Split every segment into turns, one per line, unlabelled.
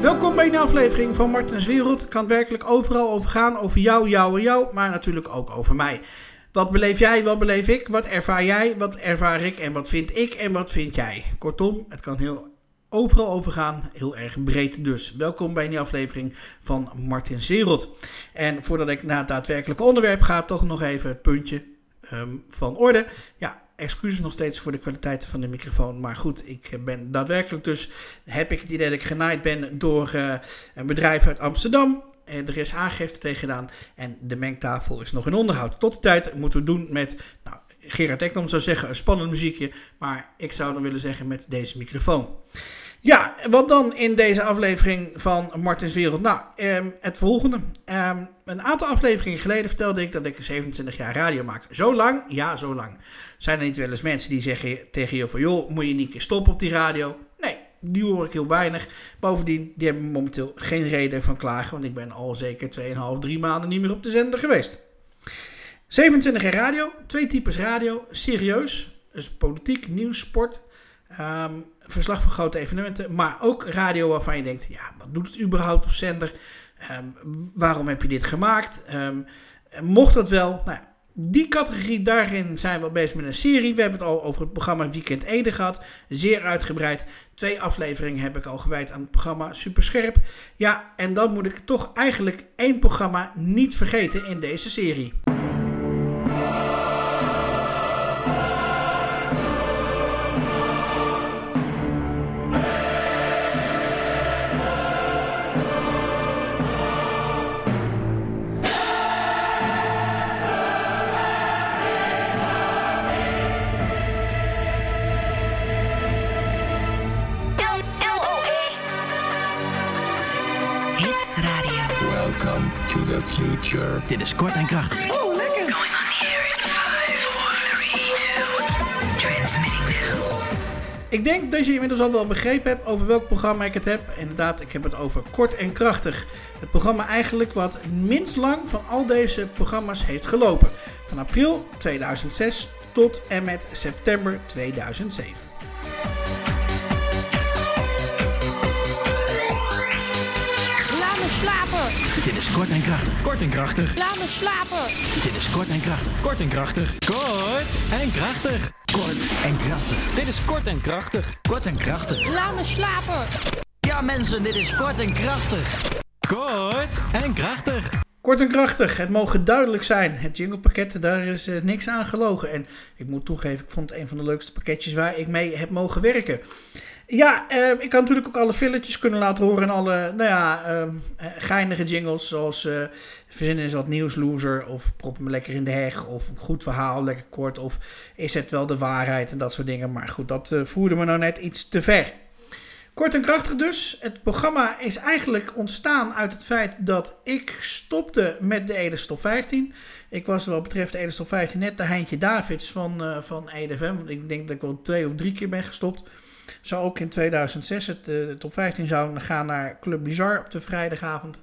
Welkom bij een aflevering van Martens Wereld. Het kan werkelijk overal over gaan. Over jou, jou en jou. Maar natuurlijk ook over mij. Wat beleef jij, wat beleef ik? Wat ervaar jij, wat ervaar ik? En wat vind ik en wat vind jij? Kortom, het kan heel overal over gaan. Heel erg breed dus. Welkom bij een nieuwe aflevering van Martens Wereld. En voordat ik naar het daadwerkelijke onderwerp ga, toch nog even het puntje ehm, van orde. Ja, excuses nog steeds voor de kwaliteit van de microfoon. Maar goed, ik ben daadwerkelijk dus heb ik het idee dat ik genaaid ben door eh, een bedrijf uit Amsterdam. Eh, Er is aangifte tegen gedaan en de mengtafel is nog in onderhoud. Tot de tijd moeten we doen met, nou, Gerard Ekdom zou zeggen, een spannend muziekje. Maar ik zou dan willen zeggen met deze microfoon. Ja, wat dan in deze aflevering van Martins Wereld? Nou, ehm, het volgende. Ehm, een aantal afleveringen geleden vertelde ik dat ik 27 jaar radio maak. Zo lang? Ja, zo lang. Zijn er niet wel eens mensen die zeggen tegen je van... joh, moet je niet een keer stoppen op die radio? Nee, die hoor ik heel weinig. Bovendien, die hebben momenteel geen reden van klagen... want ik ben al zeker 2,5, 3 maanden niet meer op de zender geweest. 27 jaar radio, twee types radio, serieus. Dus politiek, nieuws, sport, ehm, verslag van grote evenementen... maar ook radio waarvan je denkt, ja, wat doet het überhaupt op zender? Ehm, waarom heb je dit gemaakt? Ehm, mocht dat wel, nou ja, die categorie, daarin zijn we bezig met een serie. We hebben het al over het programma Weekend Ede gehad. Zeer uitgebreid. Twee afleveringen heb ik al gewijd aan het programma Superscherp. Ja, en dan moet ik toch eigenlijk één programma niet vergeten in deze serie.
L-L-O-E. E. Hit Radio.
Welcome to the future.
Dit is kort en krachtig.
Going on the air in 5, 4, 3, 2. Transmitting now.
Ik denk dat je inmiddels al wel begrepen hebt over welk programma ik het heb. Inderdaad, ik heb het over Kort en Krachtig. Het programma eigenlijk wat minst lang van al deze programma's heeft gelopen. Van april 2006 tot en met september 2007.
Laat me slapen,
Dit is kort en krachtig. Kort en krachtig.
laat me slapen,
Dit is kort en krachtig. Kort en krachtig. Kort en krachtig. Kort en krachtig. Dit is kort en krachtig. Kort en krachtig.
laat me slapen,
Ja mensen, dit is kort en krachtig. Kort en krachtig.
Kort en krachtig, het mogen duidelijk zijn. Het jinglepakket, daar is eh, niks aan gelogen. En ik moet toegeven, ik vond het een van de leukste pakketjes waar ik mee heb mogen werken. Ja, eh, ik had natuurlijk ook alle filletjes kunnen laten horen en alle, nou ja, eh, geinige jingles zoals eh Verzinnen is wat nieuwsloser of Prop me lekker in de heg of een goed verhaal, lekker kort of Is het wel de waarheid en dat soort dingen. Maar goed, dat eh, voerde me nou net iets te ver. Kort en krachtig dus. Het programma is eigenlijk ontstaan uit het feit dat ik stopte met de Edes Top 15. Ik was wat betreft de Edes Top 15 net de Heintje Davids van, eh van EDFM. Want ik denk dat ik wel twee of drie keer ben gestopt. Zou ook in 2006 het, eh, de Top 15 zou gaan naar Club Bizar op de vrijdagavond.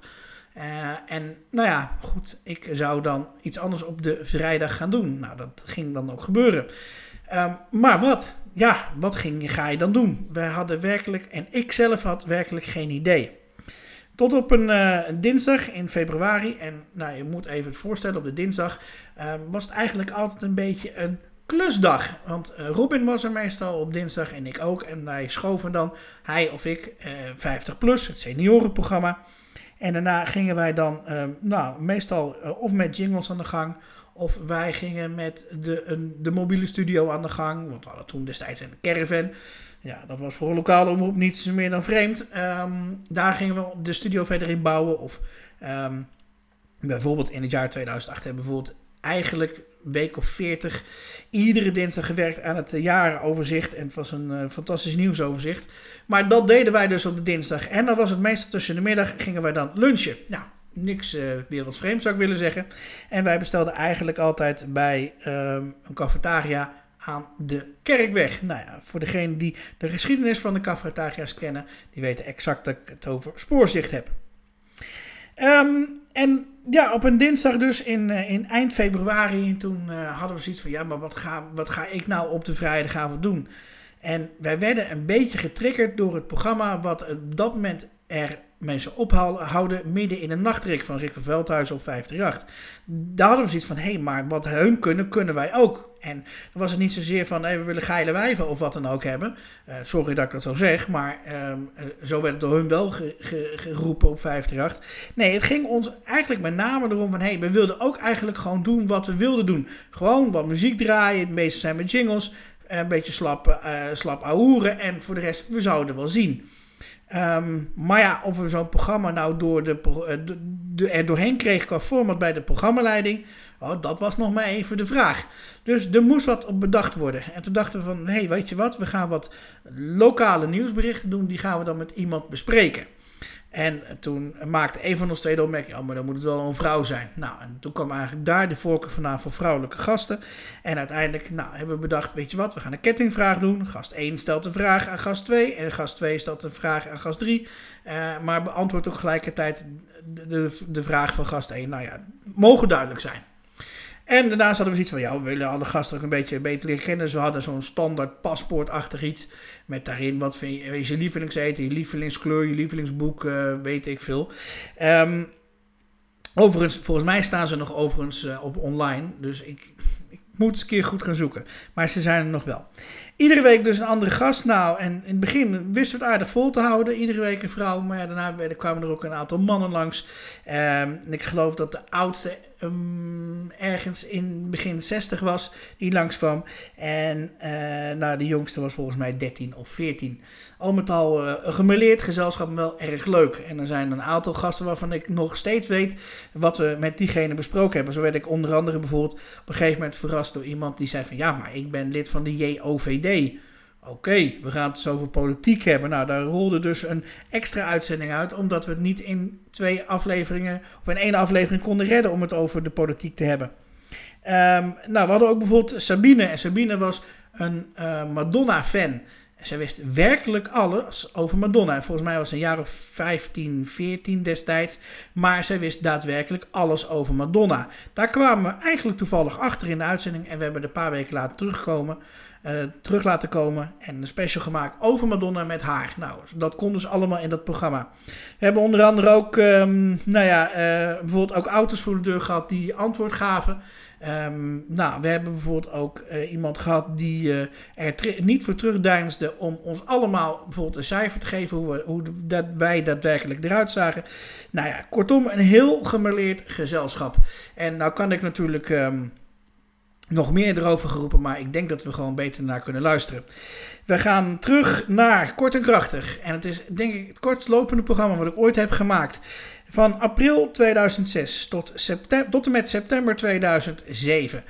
Eh, en nou ja, goed, ik zou dan iets anders op de vrijdag gaan doen. Nou, dat ging dan ook gebeuren. Ehm, maar wat? Ja, wat ging, ga je dan doen? Wij hadden werkelijk, en ik zelf had werkelijk geen idee. Tot op een eh, dinsdag in februari, en nou, je moet even het voorstellen, op de dinsdag ehm, was het eigenlijk altijd een beetje een klusdag. Want eh, Robin was er meestal op dinsdag en ik ook. En wij schoven dan, hij of ik, eh 50 plus, het seniorenprogramma. En daarna gingen wij dan, ehm, nou, meestal eh, of met jingles aan de gang. Of wij gingen met de, een, de mobiele studio aan de gang. Want we hadden toen destijds een caravan. Ja, dat was voor een lokale omroep niets meer dan vreemd. Ehm, daar gingen we de studio verder in bouwen. Of ehm, bijvoorbeeld in het jaar 2008 hebben we bijvoorbeeld eigenlijk week of 40 iedere dinsdag gewerkt aan het eh, jarenoverzicht. En het was een eh, fantastisch nieuwsoverzicht. Maar dat deden wij dus op de dinsdag. En dan was het meestal tussen de middag gingen wij dan lunchen. Nou, niks eh, wereldvreemd zou ik willen zeggen. En wij bestelden eigenlijk altijd bij ehm, een cafetaria aan de Kerkweg. Nou ja, voor degene die de geschiedenis van de cafetaria's kennen, die weten exact dat ik het over spoorzicht heb. Ehm, en ja, op een dinsdag dus in, eh, in eind februari, toen eh, hadden we zoiets van, ja, maar wat ga, wat ga ik nou op de vrijdagavond doen? En wij werden een beetje getriggerd door het programma wat op dat moment er mensen ophouden midden in een nachtrik van Rick van Veldhuizen op 538. Daar hadden we zoiets van, hé, maar wat hun kunnen, kunnen wij ook. En dan was het niet zozeer van, hé, we willen geile wijven of wat dan ook hebben. Eh, sorry dat ik dat zo zeg, maar ehm, eh, zo werd het door hun wel ge- ge- geroepen op 538. Nee, het ging ons eigenlijk met name erom van, hé, we wilden ook eigenlijk gewoon doen wat we wilden doen. Gewoon wat muziek draaien, het meeste zijn met jingles, een beetje slap, eh slap ahoeren en voor de rest, we zouden wel zien. Ehm, maar ja, of we zo'n programma nou door de, pro- eh, de, de- er doorheen kregen qua format bij de programmaleiding, oh, dat was nog maar even de vraag. Dus er moest wat op bedacht worden. En toen dachten we van, hé, hey, weet je wat, we gaan wat lokale nieuwsberichten doen, die gaan we dan met iemand bespreken. En toen maakte een van ons twee de opmerking, oh, maar dan moet het wel een vrouw zijn. Nou, en toen kwam eigenlijk daar de voorkeur vandaan voor vrouwelijke gasten. En uiteindelijk nou, hebben we bedacht, weet je wat, we gaan een kettingvraag doen. Gast 1 stelt een vraag aan gast 2 en gast 2 stelt een vraag aan gast 3. eh, maar beantwoordt ook gelijkertijd de, de, de vraag van gast 1. Nou ja, mogen duidelijk zijn. En daarnaast hadden we zoiets van, ja, we willen alle gasten ook een beetje beter leren kennen. Dus we hadden zo'n standaard paspoortachtig iets. Met daarin, wat vind je, is je lievelingseten, je lievelingskleur, je lievelingsboek, eh, weet ik veel. Ehm, overigens, volgens mij staan ze nog overigens eh, op online. Dus ik, ik moet eens een keer goed gaan zoeken. Maar ze zijn er nog wel. Iedere week dus een andere gast. Nou, en in het begin wisten we het aardig vol te houden. Iedere week een vrouw. Maar ja, daarna werden- kwamen er ook een aantal mannen langs. Ehm, en ik geloof dat de oudste ehm, ergens in begin 60 was die langskwam. En eh, nou, de jongste was volgens mij 13 of 14. Al met al eh, een gemêleerd gezelschap, maar wel erg leuk. En er zijn een aantal gasten waarvan ik nog steeds weet wat we met diegene besproken hebben. Zo werd ik onder andere bijvoorbeeld op een gegeven moment verrast door iemand die zei van... ja, maar ik ben lid van de JOVD. Oké, we gaan het dus over politiek hebben. Nou, daar rolde dus een extra uitzending uit, omdat we het niet in twee afleveringen of in één aflevering konden redden om het over de politiek te hebben. Ehm, nou, we hadden ook bijvoorbeeld Sabine. En Sabine was een eh, Madonna-fan. En zij wist werkelijk alles over Madonna. En volgens mij was ze een jaar of 15, 14 destijds. Maar zij wist daadwerkelijk alles over Madonna. Daar kwamen we eigenlijk toevallig achter in de uitzending. En we hebben er een paar weken later terugkomen, eh, terug laten komen. En een special gemaakt over Madonna met haar. Nou, dat kon dus allemaal in dat programma. We hebben onder andere ook, ehm, nou ja, eh, bijvoorbeeld ook auto's voor de deur gehad die antwoord gaven. Ehm, nou, we hebben bijvoorbeeld ook eh, iemand gehad die eh, er tri- niet voor terugdeinsde om ons allemaal bijvoorbeeld een cijfer te geven hoe, we, hoe de- dat wij daadwerkelijk eruit zagen. Nou ja, kortom, een heel gemêleerd gezelschap. En nou kan ik natuurlijk ehm, nog meer erover geroepen, maar ik denk dat we gewoon beter naar kunnen luisteren. We gaan terug naar Kort en Krachtig. En het is denk ik het kortlopende programma wat ik ooit heb gemaakt. Van april 2006 tot, septem- tot en met september 2007.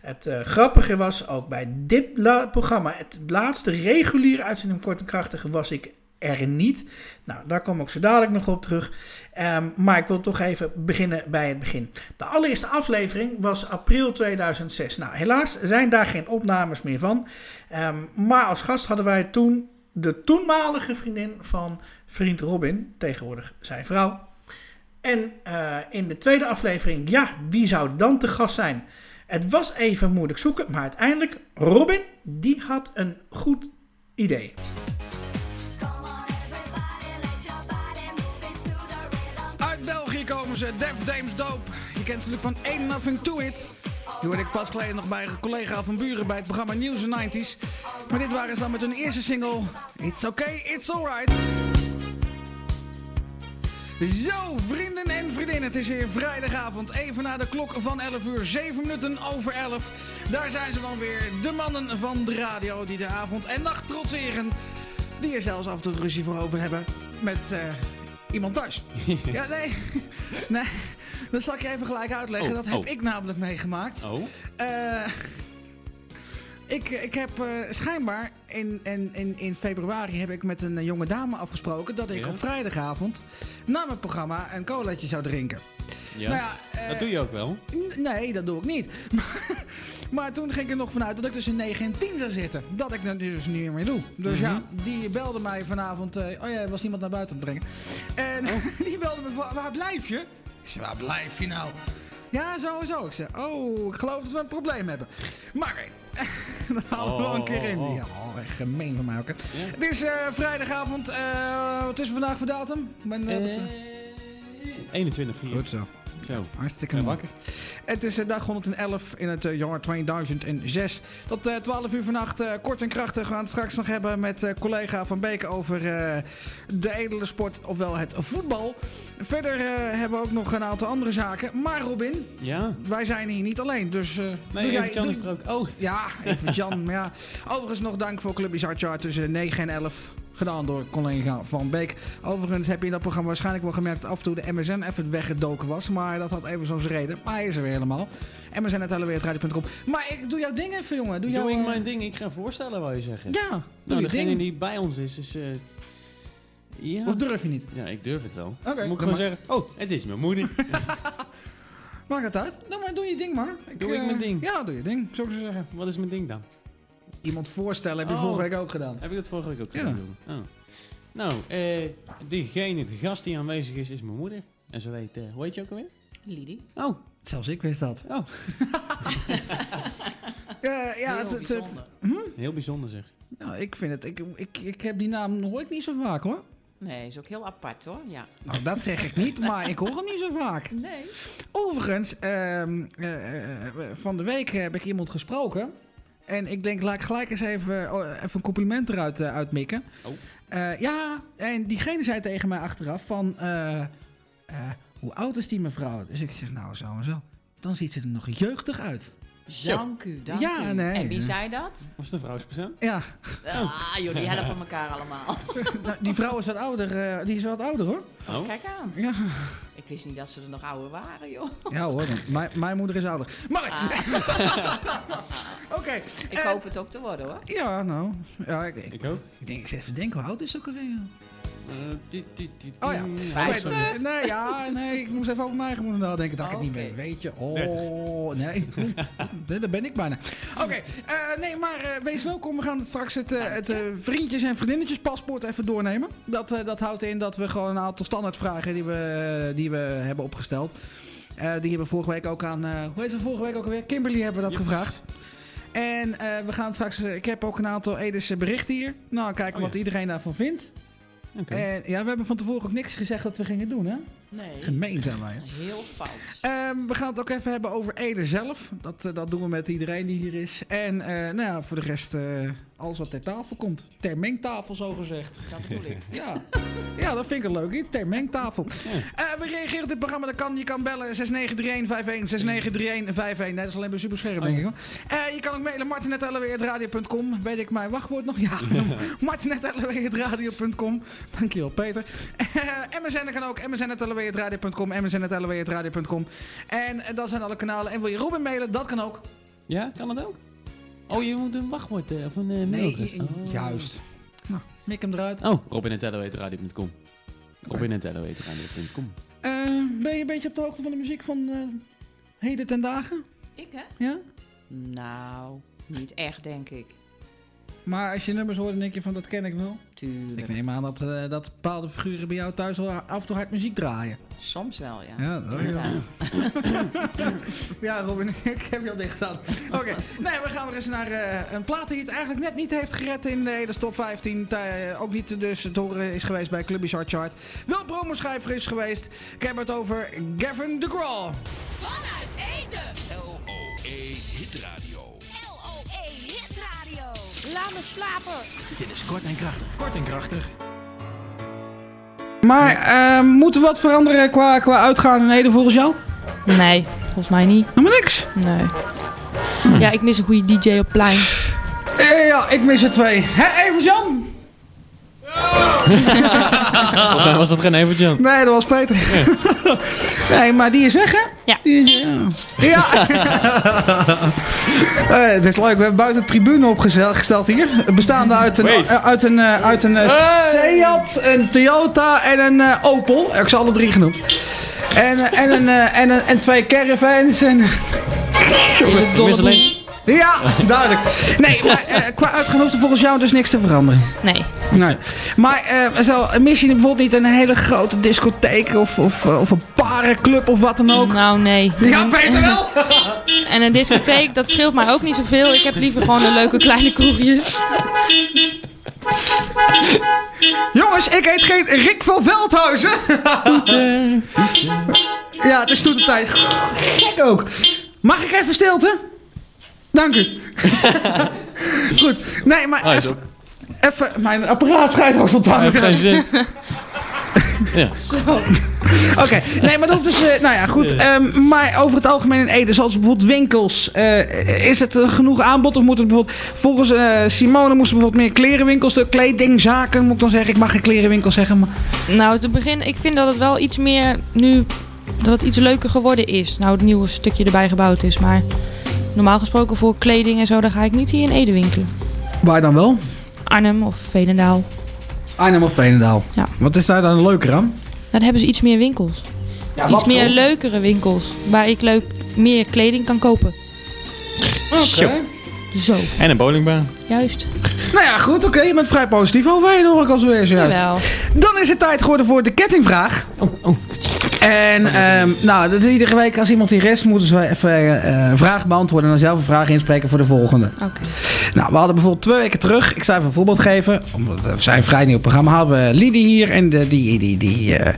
Het eh, grappige was ook bij dit la- programma, het laatste reguliere uitzending van Kort en Krachtig, was ik er niet. Nou, daar kom ik zo dadelijk nog op terug. Ehm, maar ik wil toch even beginnen bij het begin. De allereerste aflevering was april 2006. Nou, helaas zijn daar geen opnames meer van. Ehm, maar als gast hadden wij toen de toenmalige vriendin van vriend Robin, tegenwoordig zijn vrouw. En eh, in de tweede aflevering, ja, wie zou dan te gast zijn? Het was even moeilijk zoeken, maar uiteindelijk, Robin, die had een goed idee.
Uit België komen ze, Def Dames Dope. Je kent ze natuurlijk van Ain't Nothing To It. Die hoorde ik pas geleden nog bij een collega van Buren bij het programma News in 90s. Maar dit waren ze dan met hun eerste single, It's Okay, It's Alright. Zo, vrienden en vriendinnen, het is weer vrijdagavond, even na de klok van 11 uur, 7 minuten over 11. Daar zijn ze dan weer, de mannen van de radio die de avond en nacht trotseren. Die er zelfs af en toe ruzie voor over hebben met eh, iemand thuis. ja, nee, nee, dat zal ik je even gelijk uitleggen.
Oh,
dat heb
oh.
ik namelijk meegemaakt.
Oh,
Eh, ik, ik heb eh, schijnbaar in, in, in, in februari heb ik met een eh, jonge dame afgesproken dat ik
Ja?
op vrijdagavond na mijn programma een colaatje zou drinken.
ja.
Nou ja, eh,
dat doe je ook wel.
N- Nee, dat doe ik niet. Maar, maar toen ging ik er nog vanuit dat ik tussen 9 en 10 zou zitten. Dat ik dat dus niet meer doe. Dus ja,
Mhm.
die belde mij vanavond. eh, oh ja, er was niemand naar buiten aan het brengen. En
Oh.
die belde me, "Wa- waar blijf je? Ik zei, waar blijf je nou? Ja, zo en zo. Ik zei, oh, ik geloof dat we een probleem hebben. Maar oké.
dan halen we wel een keer in. Ja, oh, echt gemeen van mij ook. hè. Het is eh, vrijdagavond. eh, wat is er vandaag voor datum? Ik ben, eh, dat-
21 4.
Goed zo.
Zo.
Hartstikke
Ik ben
mooi.
wakker.
Het is eh, dag 111 in het eh, jaar 2006. Tot eh, 12 uur vannacht, eh, kort en krachtig. We gaan het straks nog hebben met eh, collega Van Beek over eh, de edele sport, ofwel het voetbal. Verder eh, hebben we ook nog een aantal andere zaken. Maar Robin,
Ja?
wij zijn hier niet alleen. Dus, eh,
Nee,
doe jij-
even Jan
doe-
is er ook. Oh,
Ja, even Jan. maar ja. Overigens nog dank voor Club Bizarre Chart tussen 9 en 11. Gedaan door collega Van Beek. Overigens heb je in dat programma waarschijnlijk wel gemerkt dat af en toe de MSN even weggedoken was. Maar dat had even zo'n reden. Maar hij is er weer helemaal. MSN.hellewereeldradio.com Maar ik doe jouw ding even, jongen. Doe jouw...
doe ik
eh,
mijn ding. Ik ga voorstellen, wou je zeggen.
Ja, doe
nou,
je
degene
ding.
die bij ons is, is... eh, ja.
Of durf je niet?
ja, ik durf het wel.
Oké.
Moet ik
Dan
gewoon zeggen, oh, het is mijn moeder.
Maakt het uit? Nou, maar doe je ding, maar.
Doe ik
eh,
mijn ding?
Ja, doe je ding. Zou ik zo zeggen.
Wat is mijn ding dan?
Iemand voorstellen heb je
Oh.
vorige week ook gedaan.
Heb ik dat vorige week ook
Ja.
gedaan? Ja. Oh. Nou, eh, degene, de gast die aanwezig is, is mijn moeder. En ze weet, eh, hoe heet je ook alweer?
Lili.
Oh,
Zelfs ik wist dat.
oh.
Ja, ja
Heel
het, het, het-
bijzonder.
Heel bijzonder zeg. ze.
nou, ik vind het... Ik, ik, ik heb die naam hoor ik niet zo vaak, hoor.
Nee, is ook heel apart hoor. Ja.
Nou, dat zeg ik niet, maar ik hoor hem niet zo vaak.
Nee.
Overigens, ehm, eh, eh, van de week heb ik iemand gesproken. En ik denk, laat ik gelijk eens even, eh, oh, even een compliment eruit eh, uitmikken.
Oh.
Eh, ja, en diegene zei tegen mij achteraf van... eh, eh, hoe oud is die mevrouw? Dus ik zeg, nou, zo en zo. Dan ziet ze er nog jeugdig uit.
Dank u, dank
Ja,
u.
nee.
En wie zei dat?
Was het een vrouwspersoon?
Ja,
Ah, jullie helpen elkaar allemaal.
nou, die vrouw is wat ouder. eh, die is wat ouder, hoor.
Oh.
Kijk aan.
Ja,
Ik wist niet dat ze er nog ouder waren, joh.
ja hoor, want mijn, mijn moeder is ouder. Maar, oké.
Ah. Ik
eh,
hoop het ook te worden hoor.
Ja, nou. Ja, ik, ik,
Ik ook.
ik denk, ik zit even denken, hoe oud is ze ook alweer?
Eh, ti- ti- ti-
Oh ja,
ti-
Vijftig.
oh, sorry.
Nee, ja, nee, ik moest even over mijn eigen moeder nadenken dat ik het niet
Oké.
meer weet. je. Oh, nee, Nee, daar ben ik bijna. Oké, eh, nee, maar eh, wees welkom. We gaan straks het, eh, het eh, vriendjes- en vriendinnetjespaspoort even doornemen. Dat, eh, dat houdt in dat we gewoon een aantal standaardvragen die we, eh, die we hebben opgesteld. eh, die hebben we vorige week ook aan, eh, hoe heet ze vorige week ook alweer? Kimberly hebben we dat gevraagd. En eh, we gaan straks, eh, ik heb ook een aantal Edische berichten hier. Nou, kijken
Oh ja.
wat iedereen daarvan vindt.
Oké.
En Eh, ja, we hebben van tevoren ook niks gezegd dat we gingen doen, hè?
Nee.
Gemeen zijn wij. hè?
Heel vals.
Ehm, we gaan het ook even hebben over Ede zelf. Dat, eh, dat doen we met iedereen die hier is. En eh, nou ja, voor de rest eh, alles wat ter tafel komt. Ter mengtafel, zo gezegd.
Dat bedoel ik.
Ja. ja, dat vind ik een leuk iets. Ter mengtafel. Eh, we reageren op dit programma. Dat kan. Je kan bellen 693151, 693151. Nee, dat is alleen bij Superscherm, denk ik. hoor. Eh, je kan ook mailen martinetellewee.radio.com. Weet ik mijn wachtwoord nog? Ja, martinetellewee.radio.com. Dankjewel, Peter. Eh, MSN kan ook. msn.lw.radio.com. msn.lw.radio.com. En eh, dat zijn alle kanalen. En wil je Robin mailen? Dat kan ook.
Ja, kan dat ook? Oh, je moet een wachtwoord eh, of een eh, mailadres.
i- i-
Oh.
juist. Nou, mik hem eruit.
Oh, robin.helloetradio.com. Robin.helloetradio.com.
Eh, ben je een beetje op de hoogte van de muziek van eh, heden ten dagen?
Ik hè?
Ja?
Nou, niet echt denk ik.
Maar als je nummers hoort, dan denk je van dat ken ik wel. Ik
Tuurlijk.
neem aan dat, eh, dat bepaalde figuren bij jou thuis al af en toe hard muziek draaien.
Soms wel, ja.
dat
Inderdaad.
Ja, Robin, ik heb je al dicht gedaan. Oké, nee, we gaan weer eens naar eh, een plaat die het eigenlijk net niet heeft gered in de hele top 15. Eh, ook niet dus te horen is geweest bij Clubby's Hard Chart. Wel promoschrijver is geweest. Ik heb het over Gavin DeGraw.
Vanuit Ede.
LOE Hit Radio.
LOE Hit Radio. Laat me slapen.
Maar eh, moet er wat veranderen qua, qua uitgaan en heden volgens jou?
Nee, volgens mij niet.
Helemaal niks.
Nee. Ja, ik mis een goede DJ op het plein.
Eh, ja, ik mis er twee. Hé, even Jan!
Volgens mij was dat geen Evert Jan.
Nee, dat was Peter. nee, maar die is weg, hè?
Ja.
Die is, ja. ja. Eh, het is leuk, we hebben buiten de tribune opgesteld hier. Bestaande uit een,
Wait.
eh, uit een, eh, uit een eh, Seat, een Toyota en een eh, Opel. Ik ze alle drie genoemd. En, eh, en, een, eh, en, een- en twee caravans. En,
In het
Ik mis
dorp.
alleen,
Ja, duidelijk. Nee, maar eh, qua uitgaan hoeft er volgens jou dus niks te veranderen.
Nee.
Nee. Maar eh, zal, mis je bijvoorbeeld niet een hele grote discotheek of, of, eh, of een parenclub of wat dan ook?
Nou, nee.
Ja, Peter wel!
En een discotheek, dat scheelt mij ook niet zoveel. Ik heb liever gewoon een leuke kleine kroegjes.
Jongens, ik heet geen Rick van Veldhuizen. ja, het is toetertijd. Gek ook. Mag ik even stilte? Dank u. Goed. Nee, maar
Hij Ah, is
even...
op.
Even, mijn apparaat schijnt ook spontaan.
Hij heeft geen zin. ja.
Oké, nee, maar dat hoeft dus... eh, nou ja, goed. Ehm, maar over het algemeen in Ede, zoals bijvoorbeeld winkels... eh, is het eh, genoeg aanbod of moet het bijvoorbeeld... Volgens eh, Simone moesten bijvoorbeeld meer klerenwinkels... de Kledingzaken, moet ik dan zeggen. Ik mag geen klerenwinkel zeggen, maar...
Nou, te begin, ik vind dat het wel iets meer nu, dat het iets leuker geworden is. Nou, het nieuwe stukje erbij gebouwd is. Maar normaal gesproken voor kleding en zo, dan ga ik niet hier in Ede winkelen.
Waar dan wel?
Arnhem of Veenendaal.
Arnhem of Veenendaal.
Ja.
Wat is daar dan leuker aan?
Nou, dan hebben ze iets meer winkels. iets meer leukere winkels. Waar ik leuk meer kleding kan kopen.
Zo.
Zo,
En een bowlingbaan.
juist.
Nou ja, goed, oké. Je bent vrij positief overheen, hoor ik al zojuist.
Jawel.
Dan is het tijd geworden voor de kettingvraag. En ehm, nou, dat is iedere week als iemand hier rest, moeten ze even eh, een vraag beantwoorden en dan zelf een vraag inspreken voor de volgende.
Oké.
Nou, we hadden bijvoorbeeld twee weken terug, ik zou even een voorbeeld geven, omdat we zijn vrij nieuw programma, hadden we Lidie hier en de, die, die, die, eh,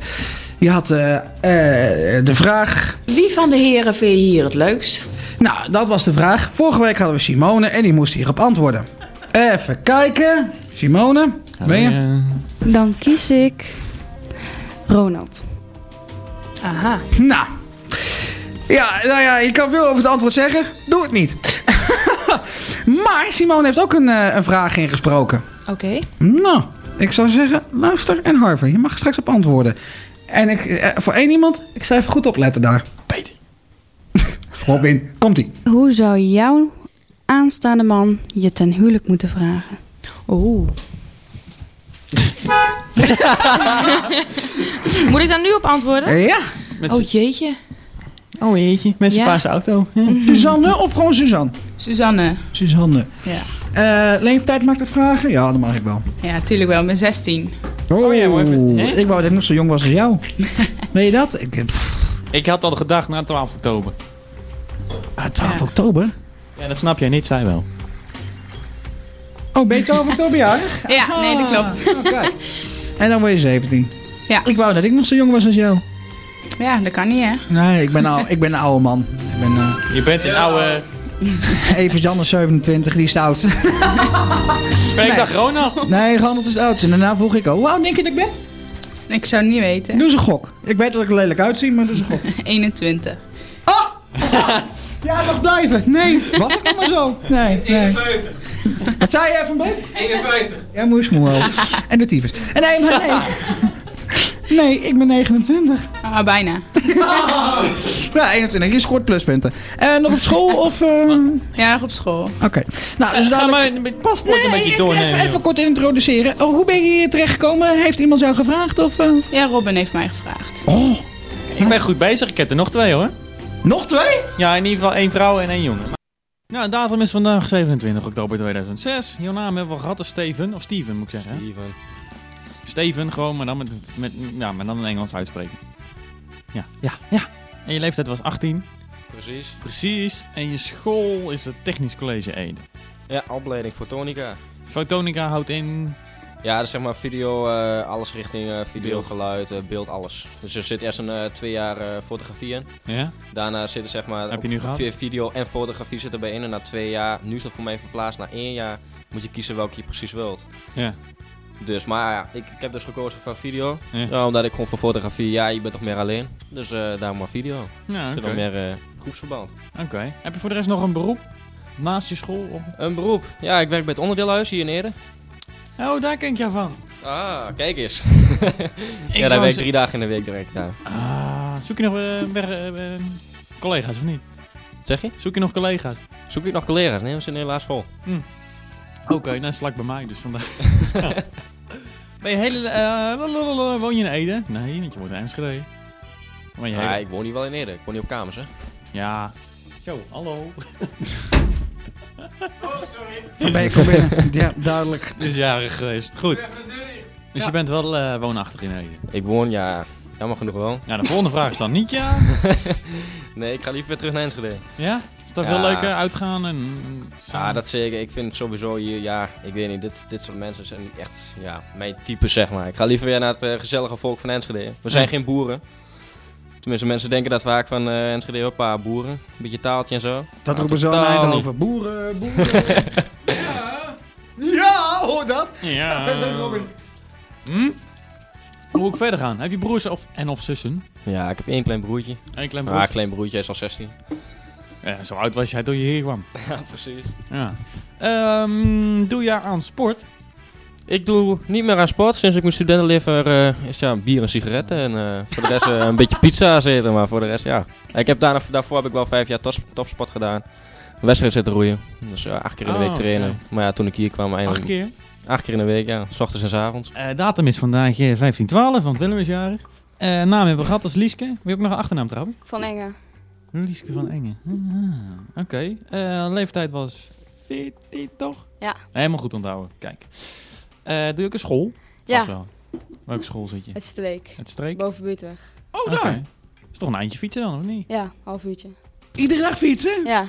die had eh, eh, de vraag,
Wie van de heren vind je hier het leukst?
Nou, dat was de vraag. Vorige week hadden we Simone en die moest hierop antwoorden. Even kijken. Simone, ben je?
Dan kies ik Ronald.
Aha.
Nou. Ja, nou ja, je kan veel over het antwoord zeggen. Doe het niet. maar Simone heeft ook een, eh, een vraag ingesproken.
Oké.
Nou, ik zou zeggen, luister en Harvey, je mag straks op antwoorden. En ik, eh, voor één iemand, ik zou even goed opletten daar. Peter. Robin, komt-ie.
Hoe zou jouw aanstaande man je ten huwelijk moeten vragen?
Oeh. Moet ik daar nu op antwoorden?
Ja,
Met
Oh jeetje.
oh jeetje. Met zijn
Ja.
paarse auto. Ja.
Suzanne of gewoon Suzanne?
Suzanne.
Suzanne.
Ja.
Eh, leeftijd maakt de vragen? Ja, dat mag ik wel.
Ja, tuurlijk wel. Ik ben 16.
Oh,
ja, maar even- hè?
ik wou dat ik nog zo jong was als jou. Weet je dat? Ik, eh, pff,
Ik had al gedacht na 12 oktober.
ah, 12 oktober.
Ja, dat snap jij niet, zij wel.
Oh, ben je 12 oktober jarig?
Ja, nee, dat klopt.
Oh, kijk. En dan word je 17.
Ja.
Ik wou dat ik nog zo jong was als jou.
Ja, dat kan niet, hè?
Nee, ik ben, al, ik ben een oude man. Ik ben eh
Je bent een oude...
even Jan is 27, die is de oudste.
Ben ik dacht Ronald?
Nee, Ronald is de oudste. En daarna vroeg ik al, hoe oud denk je dat ik ben?
Ik zou het niet weten.
Doe eens een gok. Ik weet dat ik er lelijk uitzie, maar doe eens een gok.
21.
Oh! Ja, mag blijven. Nee, wat ik allemaal zo. Nee, nee. Wat zei jij van Beek?
51.
Ja, moe is moe wel. En de tyfus. En nee, maar nee. Nee, ik ben 29.
Ah, bijna.
Ja, 21. Je scoort pluspunten. En nog op school of... eh, Oké.
Ja, op school.
Nou, dus
Eh, Ga
dadelijk...
maar met paspoort een beetje
even,
doornemen.
even,
joh.
kort introduceren. Oh, hoe ben je hier terechtgekomen? Heeft iemand jou gevraagd of... eh?
Ja, Robin heeft mij gevraagd.
Oh,
Ik ben goed bezig. Ik heb er nog twee hoor.
nog twee?
Ja, in ieder geval één vrouw en één jongen. Nou, de datum is vandaag 27 oktober 2006. Jouw naam hebben we gehad als Steven, of Steven moet ik zeggen.
Steven.
Steven, gewoon, maar dan, met, met, ja, maar dan in Engels uitspreken. Ja, ja, ja. En je leeftijd was 18,
Precies.
precies. En je school is het Technisch College Ede.
Ja, opleiding fotonica.
Fotonica houdt in...
Ja, dat is zeg maar video, eh, alles richting eh, video,
Beeld.
geluid, eh, beeld, alles. Dus er zit eerst een eh, twee jaar eh, fotografie in.
Ja?
Daarna zitten zeg maar...
Heb je
op
nu gehad?
vi- Video en fotografie zitten bij in en na twee jaar. Nu is dat voor mij verplaatst naar één jaar. Moet je kiezen welke je precies wilt.
Ja.
Dus, maar ja, ik, ik heb dus gekozen voor video.
Ja.
Nou, omdat ik gewoon voor fotografie, ja, je bent toch meer alleen. Dus eh daarom maar video.
Ja,
Zit
oké.
dan meer eh, groepsverband.
Oké. Heb je voor de rest nog een beroep? Naast je school? Of...
Een beroep. Ja, ik werk bij het onderdeelhuis hier in Ede.
Oh, daar ken ik jou van.
Ah, kijk eens.
Ik
ja, daar
was-
werk ik drie dagen in de week direct daar.
Ah, zoek je nog eh, wer- eh, eh, collega's of niet?
Zeg je?
Zoek je nog collega's?
Zoek ik nog collega's? Nee, we zitten helaas vol.
Oké, nou is vlak bij mij, dus vandaag. ben je hele... eh, lalalala, woon je in Ede? Nee, want je woont in Enschede. Maar je hele...
Ja, ik woon hier wel in Ede. Ik woon niet op kamers, hè.
Ja. Zo, hallo. Oh, sorry.
Van ben je kom binnen. Ja, duidelijk.
Is jarig geweest. Goed. Dus je bent wel eh, woonachtig in Ede?
Ik woon, ja, jammer genoeg wel.
Ja, de volgende vraag is dan niet ja.
nee, ik ga liever weer terug naar Enschede.
Ja? Is dat veel leuker uitgaan en... en
Ja,
samen-
dat zeker. Ik vind sowieso hier, ja, ik weet niet, dit, dit soort mensen zijn niet echt, ja, mijn type zeg maar. Ik ga liever weer naar het eh, gezellige volk van Enschede. We zijn
Ja.
geen boeren. Tenminste, mensen denken dat vaak van eh Enschede, hoppa, boeren. Een beetje taaltje en zo.
Dat
Maar
roepen ze al in
totaal niet.
Eindhoven. Boeren, boeren. ja. ja, hoor dat.
Ja.
Robin.
Hm? Hoe moet ik verder gaan? Heb je broers of, en of zussen?
Ja, ik heb één klein broertje.
Eén klein
Ah,
broertje.
klein broertje, hij is al 16.
Ja, zo oud was jij toen je hier kwam.
Ja, precies.
Ja. Ehm, doe jij aan sport?
Ik doe niet meer aan sport. Sinds ik mijn studentenlever eh is ja, bier en sigaretten. En eh, voor de rest eh, een beetje pizza zitten. Maar voor de rest, ja. Ik heb daarna, daarvoor heb ik wel vijf jaar tos- topsport gedaan. Wedstrijd zitten roeien. Dus ja, acht keer in de
Oh,
week trainen.
oké.
Maar ja, toen ik hier kwam eindelijk...
Acht keer?
Acht keer in de week, ja. S ochtends en s avonds.
Eh, datum is vandaag eh, 1512, want Willem is jarig. Eh, naam hebben we gehad als Lieske. Wil ik nog een achternaam trouwen?
Van Enge.
Lieske van Engen. Ah, Oké. Eh, leeftijd was 14, toch?
Ja.
Helemaal goed onthouden. Kijk. Eh, doe je ook een school?
Ja.
Vast wel. Welke school zit je?
Het streek.
Het streek?
Boven Buurtweg.
Oh, Is toch een eindje fietsen dan, of niet?
Ja, half uurtje.
Iedere dag fietsen?
Ja.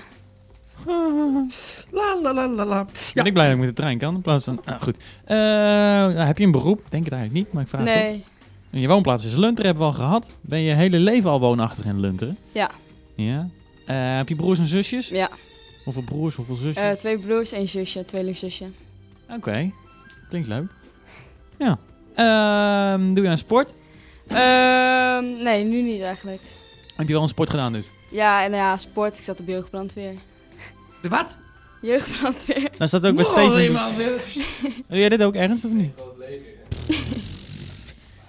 La la la la la.
Ben ik blij dat ik met de trein kan. In plaats van, ah, goed. Eh, nou, heb je een beroep? Denk het eigenlijk niet, maar ik vraag het
Nee.
toch. En Je woonplaats is Lunteren, hebben we al gehad. Ben je hele leven al woonachtig in Lunteren?
Ja.
Ja. Eh, heb je broers en zusjes?
Ja.
Hoeveel broers, hoeveel zusjes?
Eh, twee broers, één zusje, tweelingzusje. Eh.
Oké. Klinkt leuk. Ja. Ehm, doe je aan sport?
Ehm, nee, nu niet eigenlijk.
Heb je wel een sport gedaan dus?
Ja, en nou ja, sport. Ik zat op jeugdbrandweer.
De wat?
Jeugdbrandweer.
Nou staat ook bij Steven. Doe jij dit ook ernst of niet?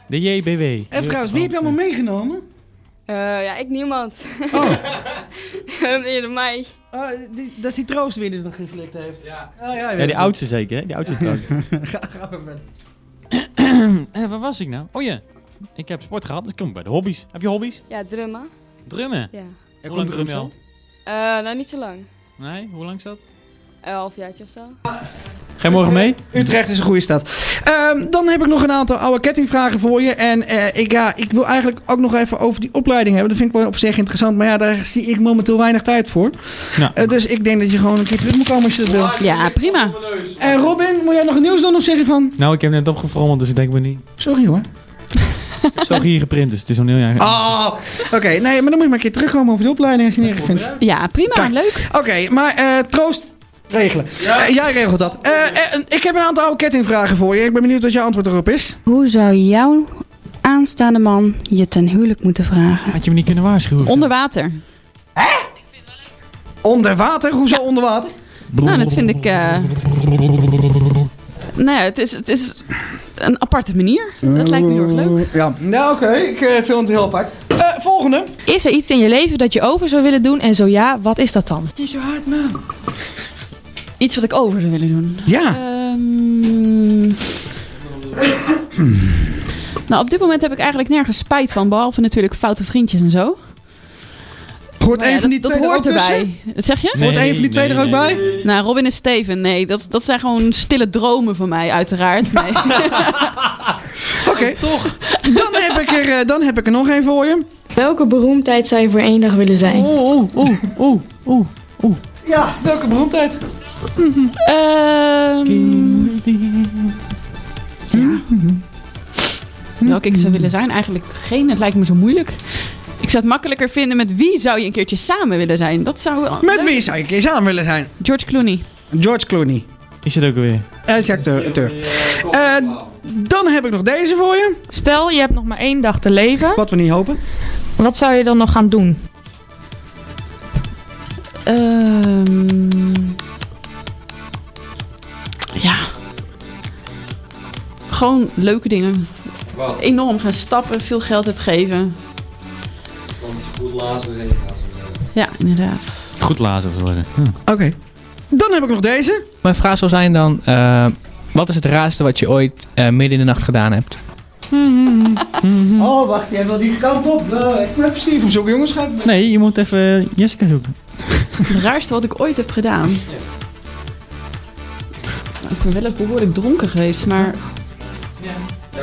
De JBW.
Even trouwens, wie heb je allemaal meegenomen?
Eh, ja, ik niemand. Oh. Eerder mij.
Ah, die- dat is die troost weer die dat geflikt heeft. Ja, oh, ja, je
Ja,
weet
die
het.
oudste zeker, hè? Die oudste trouwens.
Ga, ga maar verder.
Eh, waar was ik nou? Oh ja, ik heb sport gehad, dus ik kom bij de hobby's. Heb je hobby's?
Ja, drummen.
Drummen?
Ja.
Hoe lang drum je al?
Eh, nou, niet zo lang.
Nee, hoe lang is dat?
Een halfjaartje of zo.
Ga je morgen mee?
Utrecht is een goede stad. Ehm, dan heb ik nog een aantal oude kettingvragen voor je. En eh, ik, ja, ik wil eigenlijk ook nog even over die opleiding hebben. Dat vind ik wel op zich interessant. Maar ja, daar zie ik momenteel weinig tijd voor. Eh, dus ik denk dat je gewoon een keer terug moet komen als je dat wil.
Ja, prima.
En Robin, moet jij nog nieuws doen of zeg je van...
Nou, ik heb net opgefrommeld, dus ik denk maar niet.
Sorry hoor.
Het is toch hier geprint, dus het is een heel jaar.
Oh, oké. Nee, maar dan moet je maar een keer terugkomen over die opleiding als je het niet erg vindt.
Ja, prima.
leuk. Oké, maar eh, troost regelen. Eh, jij regelt dat. Eh, eh, ik heb een aantal oude kettingvragen voor je. Ik ben benieuwd wat jouw antwoord erop is.
Hoe zou jouw aanstaande man je ten huwelijk moeten vragen?
Had je me niet kunnen waarschuwen?
Onder water.
Onder water? Hoezo onder water?
Nou, dat vind ik. eh, nou ja, het is, het is een aparte manier. Dat lijkt me heel erg leuk.
Ja, nou, oké. Ik eh, vind het heel apart. Eh, volgende.
Is er iets in je leven dat je over zou willen doen? En zo ja, wat is dat dan?
Die zo hard, man.
Iets wat ik over zou willen doen.
Ja.
Ehm, nou, op dit moment heb ik eigenlijk nergens spijt van. Behalve natuurlijk foute vriendjes en zo.
Hoort
Maar nou ja,
een van die
dat,
twee
dat
er
hoort
ook
erbij.
tussen?
Dat zeg je?
Nee, Hoort een van die twee nee, er ook nee, bij?
Nou, Robin en Steven, nee. Dat, dat zijn gewoon stille dromen van mij, uiteraard. Nee.
Oké. Toch. Dan heb, ik er, eh, dan heb ik er nog één voor je.
Welke beroemdheid zou je voor één dag willen zijn?
Oeh, oeh, oeh, oeh, oeh. Ja, welke beroemdheid?
Ehm, Ja. Welke ik zou willen zijn? Eigenlijk geen. Het lijkt me zo moeilijk. Ik zou het makkelijker vinden met wie zou je een keertje samen willen zijn. Dat zou wel-
Met wie zou je een keer samen willen zijn?
George Clooney.
George Clooney.
Is het ook weer?
Hij is acteur. acteur. Eh, dan heb ik nog deze voor je.
Stel, je hebt nog maar één dag te leven.
Wat we niet hopen.
Wat zou je dan nog gaan doen?
Ehm, ja. Gewoon leuke dingen.
Wat?
Enorm gaan stappen, veel geld uitgeven.
Want goed laatste heen gaat.
Ja, inderdaad.
Goed lazen of zo.
Oké. Dan heb ik nog deze.
Mijn vraag zou zijn dan, eh, wat is het raarste wat je ooit eh, midden in de nacht gedaan hebt?
Oh, wacht. Jij wil die kant op. Eh, ik moet even Steven zoeken, jongens. Ga even-
Nee, je moet even Jessica zoeken.
Het raarste wat ik ooit heb gedaan. Nou, Ik ben wel eens behoorlijk dronken geweest, maar
Ja,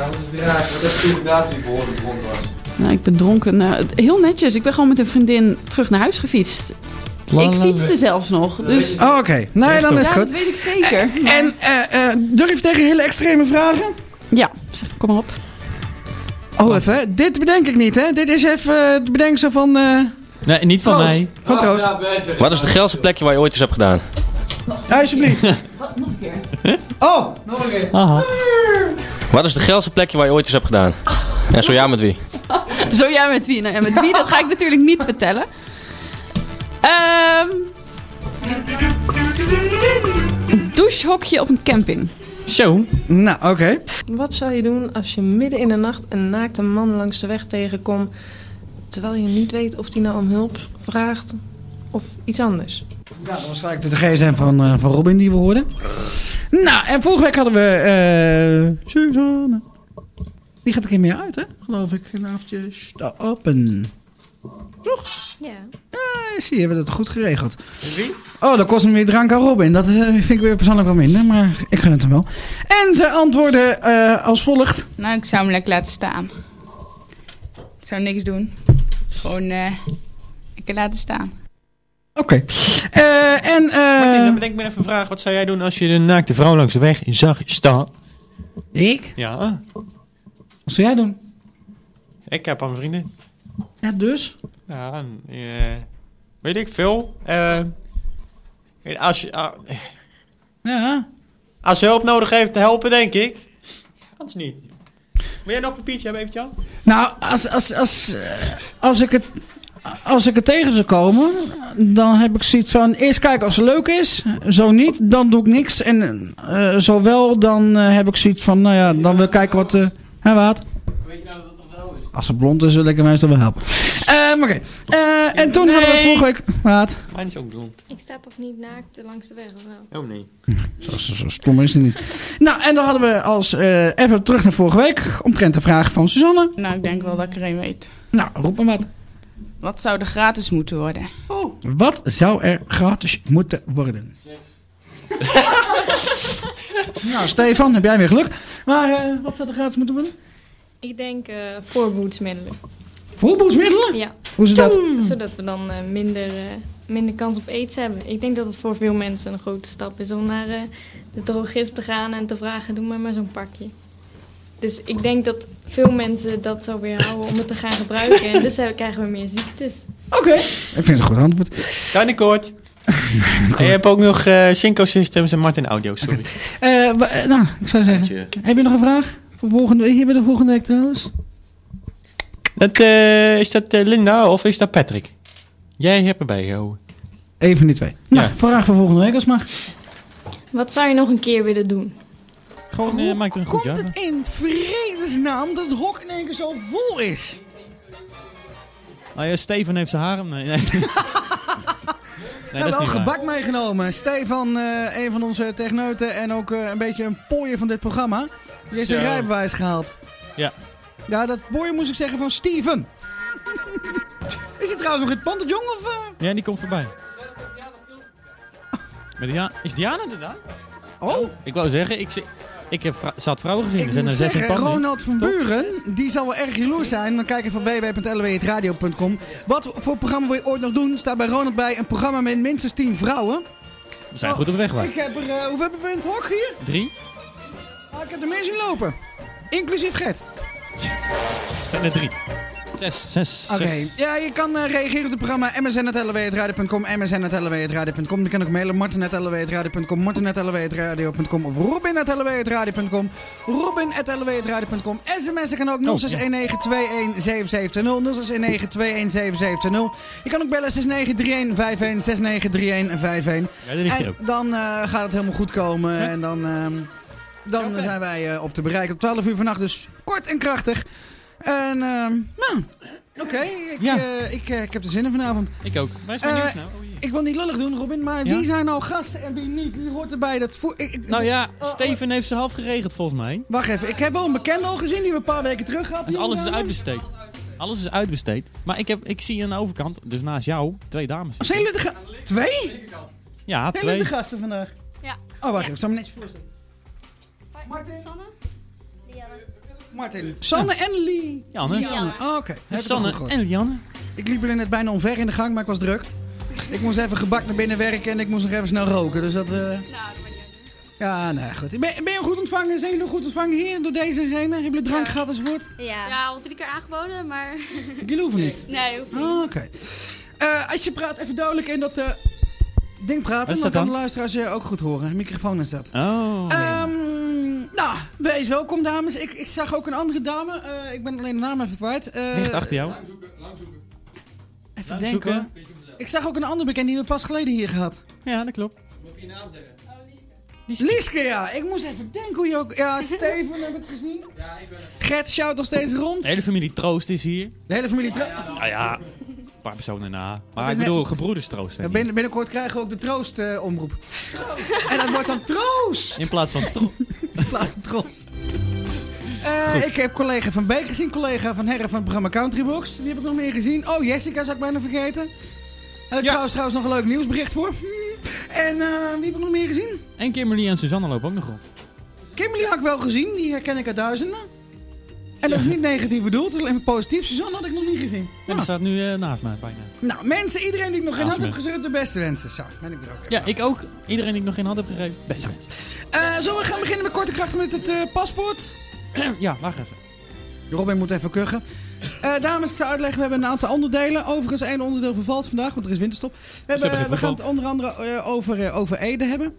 dat is het raar. Dat is toen inderdaad die behoorlijk dronken was.
nou, ik ben dronken. Nou, het- heel netjes. Ik ben gewoon met een vriendin terug naar huis gefietst. Ik fietste zelfs nog. Dus...
Oh, oké. Nee, dan is het
Ja,
goed.
dat weet ik zeker.
En eh, eh, durf tegen hele extreme vragen?
Ja, zeg, kom maar op.
Oh, even. Dit bedenk ik niet, hè? Dit is even het bedenk zo van... eh
Nee, niet van
Troost.
mij.
Ah,
Van Troost.
Wat is de geilste plekje waar je ooit iets hebt gedaan?
Alsjeblieft.
Wat, nog een keer?
Oh, nog een keer.
Wat is de geilste plekje waar je ooit iets hebt gedaan? En zo ja, met wie?
Zo ja, met wie? Nou, ja, met wie? Dat ga ik natuurlijk niet vertellen. Ehm een douchehokje op een camping.
Zo.
Nou, oké.
Wat zou je doen als je midden in de nacht een naakte man langs de weg tegenkomt... terwijl je niet weet of hij nou om hulp vraagt of iets anders?
Ja, dan waarschijnlijk de gsm van, eh, van Robin die we hoorden. Nou, en vorige week hadden we... eh Suzanne. Die gaat een keer meer uit, hè? Geloof ik. Een avondje stappen.
Ja.
Eh, zie, hebben we dat goed geregeld. Oh, dat kost hem weer drank aan Robin. Dat eh, vind ik weer persoonlijk wel minder, maar ik gun het hem wel. En ze antwoorden eh, als volgt.
Nou, ik zou hem lekker laten staan. Ik zou niks doen. Gewoon eh lekker laten staan.
Oké. Eh, en...
Martin, dan bedenk ik me even een vraag. Wat zou jij doen als je een naakte vrouw langs de weg zag staan?
Ik?
Ja,
Wat zou jij doen?
ik heb aan mijn vriendin.
Ja, dus?
Ja, eh, weet ik veel. Eh, als, je, ah,
Ja.
als je hulp nodig heeft, helpen denk ik. Anders niet. Wil jij nog een papiertje hebben, eventjes?
Nou, als, als, als, eh, als, ik het, als ik het tegen zou komen, dan heb ik zoiets van... Eerst kijken als het leuk is. Zo niet, dan doe ik niks. En eh zo wel, dan eh, heb ik zoiets van... Nou ja, dan wil ik kijken wat... eh hè, wat? Als het blond is, wil ik hem meestal wel helpen. Ehm, Oké. Eh, en toen hadden we
Nee.
vorige week... Wat?
Mijn is ook blond.
Ik sta toch niet naakt langs de weg of wel?
Oh nee.
Zo, zo, zo stom is het niet. Nou, en dan hadden we als... eh, even terug naar vorige week. Omtrent de vraag van Suzanne.
Nou, ik denk wel dat ik er een weet.
Nou, roep maar wat.
Wat zou er gratis moeten worden?
Wat zou er gratis moeten worden? nou, Stefan, heb jij weer geluk. Maar eh, wat zou er gratis moeten worden?
Ik denk eh voorboedsmiddelen.
Voorboedsmiddelen?
Ja.
Hoe is dat?
Zodat we dan eh, minder, eh, minder kans op aids hebben. Ik denk dat het voor veel mensen een grote stap is om naar eh, de drogist te gaan en te vragen: doe maar maar zo'n pakje. Dus ik denk dat veel mensen dat zo weerhouden om het te gaan gebruiken. En dus eh, krijgen we meer ziektes.
Oké. Ik vind het een goed antwoord.
Kan ik kort. En je hebt ook nog eh Synco Systems en Martin Audio, sorry.
Eh, wa- eh, nou, ik zou zeggen. Heb je nog een vraag? Voor volgende week? Hier bij de volgende week trouwens.
Dat, eh, is dat eh, Linda of is dat Patrick? Jij hebt erbij oh. gehouden.
Eén van die twee. Nou, vraag voor volgende week als het mag.
Wat zou je nog een keer willen doen?
Gewoon, eh, maak er een goed jaar. van.
In vredesnaam dat het hok in één keer zo vol is.
Ah ja, Steven heeft zijn harem. Nee, nee. nee
We
dat is
hebben
niet
wel
waar.
gebak meegenomen. Stefan, eh een van onze techneuten en ook eh, een beetje een pooier van dit programma. Die is een
Zo.
rijbewijs gehaald.
Ja.
Ja, dat boy moest ik zeggen van Steven. is hij trouwens nog in het pand, het jong? Of, eh?
ja, die komt voorbij. Met Diana, is Diana er dan?
Oh,
Ik wou zeggen, ik, zi- ik heb vrou- zat vrouwen gezien.
ik
er zijn
moet
er zes in
zeggen,
het pand nu.
Ronald van
Toch?
Buren, die zal wel erg jaloers zijn. Dan kijk even op e www.lwetradio.com. Wat voor programma wil je ooit nog doen? Staat bij Ronald bij een programma met minstens 10 vrouwen.
We zijn goed op weg, waar.
Ik heb er, eh, hoeveel hebben we in het hok hier?
Drie?
Ah, ik heb er meer zien lopen. Inclusief Gert.
Zijn er drie? Zes, zes,
Oké,
zes.
ja, je kan eh, reageren op het programma E msn.lw.radio.com, E msn.lw.radio.com. Dan kan ook mailen E martin.lw.radio.com, E martin.lw.radio.com of E robin.lw.radio.com, E robin.lw.radio.com. Sms'en kan ook 0619217720, 0619217720. Je kan ook bellen 693151, 693151.
Ja, dat ligt hier
En
ook.
dan eh, gaat het helemaal goed komen en dan... ehm, dan eh, zijn wij eh, op te bereiken op 12 uur vannacht, dus kort en krachtig. En, ehm, nou, oké, ik,
Ja.
eh, ik, eh, ik heb er zin in vanavond.
Ik ook. Wij zijn
Eh,
nieuws nou.
Ik wil niet lullig doen, Robin, maar
Ja?
wie zijn nou gasten en wie niet? Wie hoort erbij? Dat voer- ik, ik-
Nou ja,
Oh,
Steven heeft ze half geregeld volgens mij.
Wacht even, ik heb wel een bekende al gezien die we een paar weken terug hadden.
Dus alles is
Die, eh,
uitbesteed. Alles is uitbesteed. Maar ik, heb, ik zie aan de overkant, dus naast jou, twee dames.
Zijn jullie de gasten? Twee?
Ja,
Zijn jullie
twee.
de gasten vandaag?
Ja.
Oh, wacht even. Ik zal me netjes voorstellen. Martin. Sanne. Martin. Sanne en Lie.
Janne.
Lianne. Oh, oké. Heb het
Dus Sanne
goed gehoord.
en Lianne.
Ik liep er net bijna omver in de gang, maar ik was druk. Ik moest even gebak naar binnen werken en ik moest nog even snel roken. Dus dat... eh, Ja, nou goed. Ben, ben je goed ontvangen? Zijn jullie goed ontvangen hier door deze en gene? Hebben jullie drank gehad enzovoort?
Ja. ja, al drie keer aangeboden, maar...
Jullie hoeven niet.
Nee, hoeft niet.
Ah, Oké. Eh, als je praat, even duidelijk in dat eh, ding
Wat
praten.
is
Dan
dat
kan de
dan?
luisteraars je ook goed horen. Microfoon is dat.
Oh.
Ehm, nou, wees welkom dames. Ik, ik zag ook een andere dame. Eh, ik ben alleen de naam even kwijt. Eh,
Ligt achter jou.
Even
Lang
denken.
zoeken.
hoor. Ik zag ook een andere bekende die we pas geleden hier gehad.
Ja, dat klopt.
Moet je je naam zeggen?
Lieske. ja. Ik moest even denken hoe je ook... Ja, Steven heb ik gezien.
Ja, ik ben er.
Gert shout nog steeds rond.
De hele familie Troost is hier.
De hele familie Troost?
Nou ja, een paar personen na.
is
Maar ik
net-
bedoel, gebroeders Troost. hè,
Ja, binnen- binnenkort krijgen we ook de troost eh, omroep. En dat wordt dan troost!
In plaats van tro-
In plaats van troost. Eh,
Goed.
ik heb collega van Beek gezien, collega van Herren van het programma Countrybox. Die heb ik nog meer gezien. Oh, Jessica zou ik bijna vergeten. Heb ik trouwens, trouwens nog een leuk nieuwsbericht voor. En eh, wie heb ik nog meer gezien?
En Kimberly en Suzanne lopen ook nog op.
Kimberly had ik wel gezien, die herken ik uit duizenden. En dat is niet negatief bedoeld, dat is alleen maar positief. Suzanne had ik nog niet gezien.
En die staat nu eh, naast mij bijna.
Nou, mensen, iedereen die ik nog geen hand
Awesome.
heb gezet, de beste wensen. Zo, ben ik er ook.
Ja, ik ook. Iedereen die ik nog geen hand heb gegeven. Beste mensen.
Eh, zullen we gaan beginnen met korte krachten met het eh, paspoort?
ja, wacht even.
Robin moet even kuchen. Eh, dames, ik zou uitleggen, we hebben een aantal onderdelen. Overigens, één onderdeel vervalt vandaag, want er is winterstop. We, hebben,
hebben geen
we gaan het
voetbal.
onder andere eh, over, eh, over Ede hebben.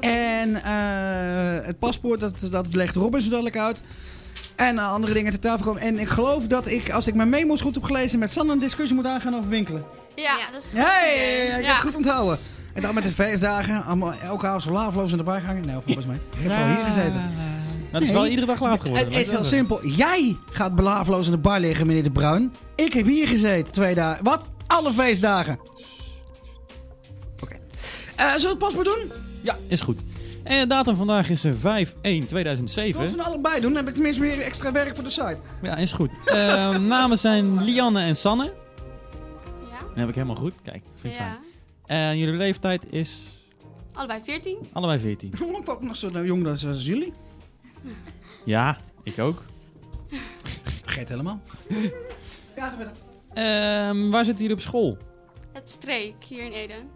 En eh, het paspoort, dat, dat legt Robin zo dadelijk uit. En eh, andere dingen te tafel komen. En ik geloof dat ik, als ik mijn memo's goed heb gelezen, met Sanne een discussie moet aangaan over winkelen.
Ja, dat is goed.
Hey, ik heb
Ja.
het goed onthouden. En dan met de feestdagen, allemaal, elke avond zo laafloos in de bar hangen. Nou, volgens mij. Ik heb al hier gezeten.
Dat Eh, is wel iedere dag laat geworden.
Het is heel
Weet je
simpel. Jij gaat belaafloos in de bar liggen, meneer De Bruin. Ik heb hier gezeten twee dagen. Wat? Alle feestdagen. Oké. Eh, zullen we het paspoort doen?
Ja, is goed. En de datum vandaag is eh, 5-1-2007.
Even. we van allebei doen? Dan heb ik tenminste meer extra werk voor de site.
Ja, is goed. Eh, namen zijn Lianne en Sanne. Ja. Dat heb ik helemaal goed. Kijk, vind ik
Ja.
fijn. En jullie leeftijd is
Allebei 14.
allebei 14.
Hoe lang ook nog zo nou, jong als, als jullie?
Ja, ik ook.
Vergeet helemaal. Ja, ga verder.
Ehm, waar zitten jullie op school?
Het streek hier in Eden.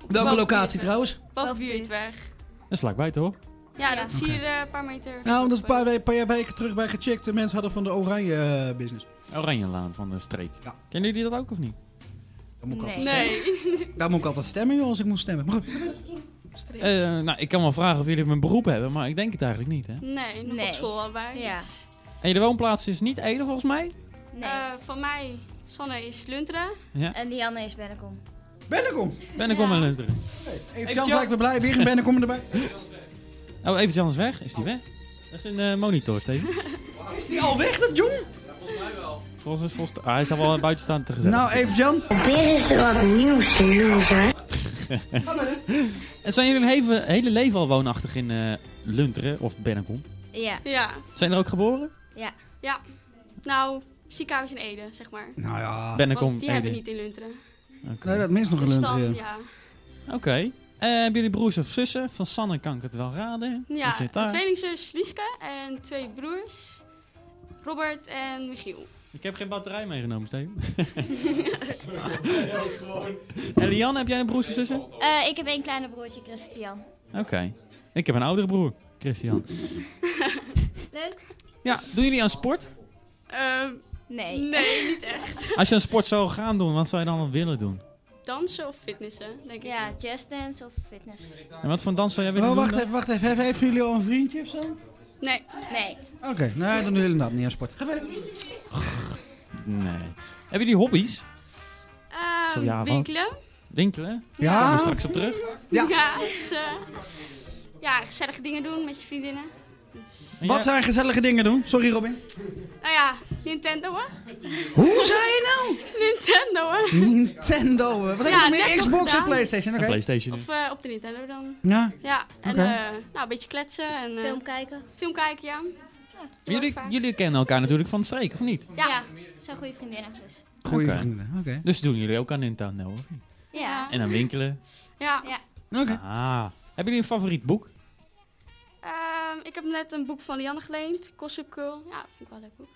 Op
Welke
Boven
locatie
Buurtweg.
trouwens?
Boven Buurtweg.
Dat is vlakbij toch?
Ja, dat is hier eh, een paar meter.
Nou, omdat we een paar, we- paar jaar weken terug bij gecheckt. De mensen hadden van de oranje eh, business.
Oranjelaan van de streek. Kennen jullie dat ook of niet?
Dat moet ik altijd
Nee.
stemmen. Daar moet ik altijd stemmen, joh, als ik moet stemmen. Maar goed.
Eh, nou, ik kan wel vragen of jullie mijn beroep hebben, maar ik denk het eigenlijk niet. Hè?
Nee, nog op school allebei. Ja.
En jullie woonplaats is niet Ede volgens mij?
eh.
Eh, van mij, Sanne is Lunteren.
Ja.
En Dianne is Bennekom.
Bennekom!
Ben ik om een lunteren.
Even Jan blijkt weer blij. Weer een Bennekom erbij.
Oh, even anders weg. Is die weg? Dat is een eh, monitor, Steven.
Is die al weg, dat jong?
volgens het volgens ah, hij zal wel buiten staan te gezellig.
Nou, even Jan.
Probeer eens wat nieuws, loser.
En zijn jullie hun hele, hele leven al woonachtig in eh, Lunteren of Bennekom?
Ja. Ja.
Zijn er ook geboren?
Ja. Ja. Nou, ziekenhuis in Ede, zeg maar.
Nou ja.
Bennekom,
Ah. Want die hebben
Ede.
niet in Lunteren.
Nee, dat mist nog een
Dus
lunt.
dan,
ja.
ja.
Oké. Eh, hebben jullie broers of zussen? Van Sanne kan ik het wel raden. Die
Ja,
zit
een
daar.
tweelingzus Lieske en twee broers, Robert en Michiel.
Ik heb geen batterij meegenomen, Steven. en Lian, heb jij een broers of zussen?
Oh.
Oké.
Eh, ik heb één kleine broertje, Christian.
Ik heb een oudere broer, Christian.
Leuk?
Ja, doen jullie aan sport?
nee.
Nee, niet echt.
Als je aan sport zou gaan doen, wat zou je dan wel willen doen?
Dansen of fitnessen, denk ik.
Ja, jazzdance of fitness.
En wat voor dans zou jij willen
Oh,
doen?
wacht
dan?
even, wacht even. Hebben- Hebben jullie al een vriendje of zo? Oké,
Nee.
Nee.
Eh.
nee, dan doen jullie dat niet aan sport. Ga verder.
Nee. Hebben jullie hobby's?
Ehm,
Zo, ja, wat?
winkelen.
Winkelen?
Ja.
Daar komen we straks op terug.
Ja. het, eh, ja, gezellige dingen doen met je vriendinnen.
Wat zijn gezellige dingen doen? Sorry, Robin.
Nou ja, Nintendo hè?
Hoe zei je nou?
Nintendo hè?
Nintendo. Wat heb je
Ja,
nog meer?
Deco
Xbox en
gedaan.
Playstation? Oké.
En Playstation.
Of eh, op de Nintendo dan.
Ja.
Ja, en
Oké.
eh, nou, een beetje kletsen. En, film
kijken.
Film kijken, ja.
Jullie, jullie kennen elkaar natuurlijk van de streek, of niet?
Ja, zijn goede vriendinnen dus.
Goeie
Oké.
vrienden, oké.
Dus doen jullie ook aan Nintendo, of niet?
Ja.
En aan winkelen.
Ja.
ja.
Oké.
Ah. Hebben jullie een favoriet boek?
Ehm, ik heb net een boek van Lianne geleend, Gossip Girl. Ja, vind ik wel een leuk boek.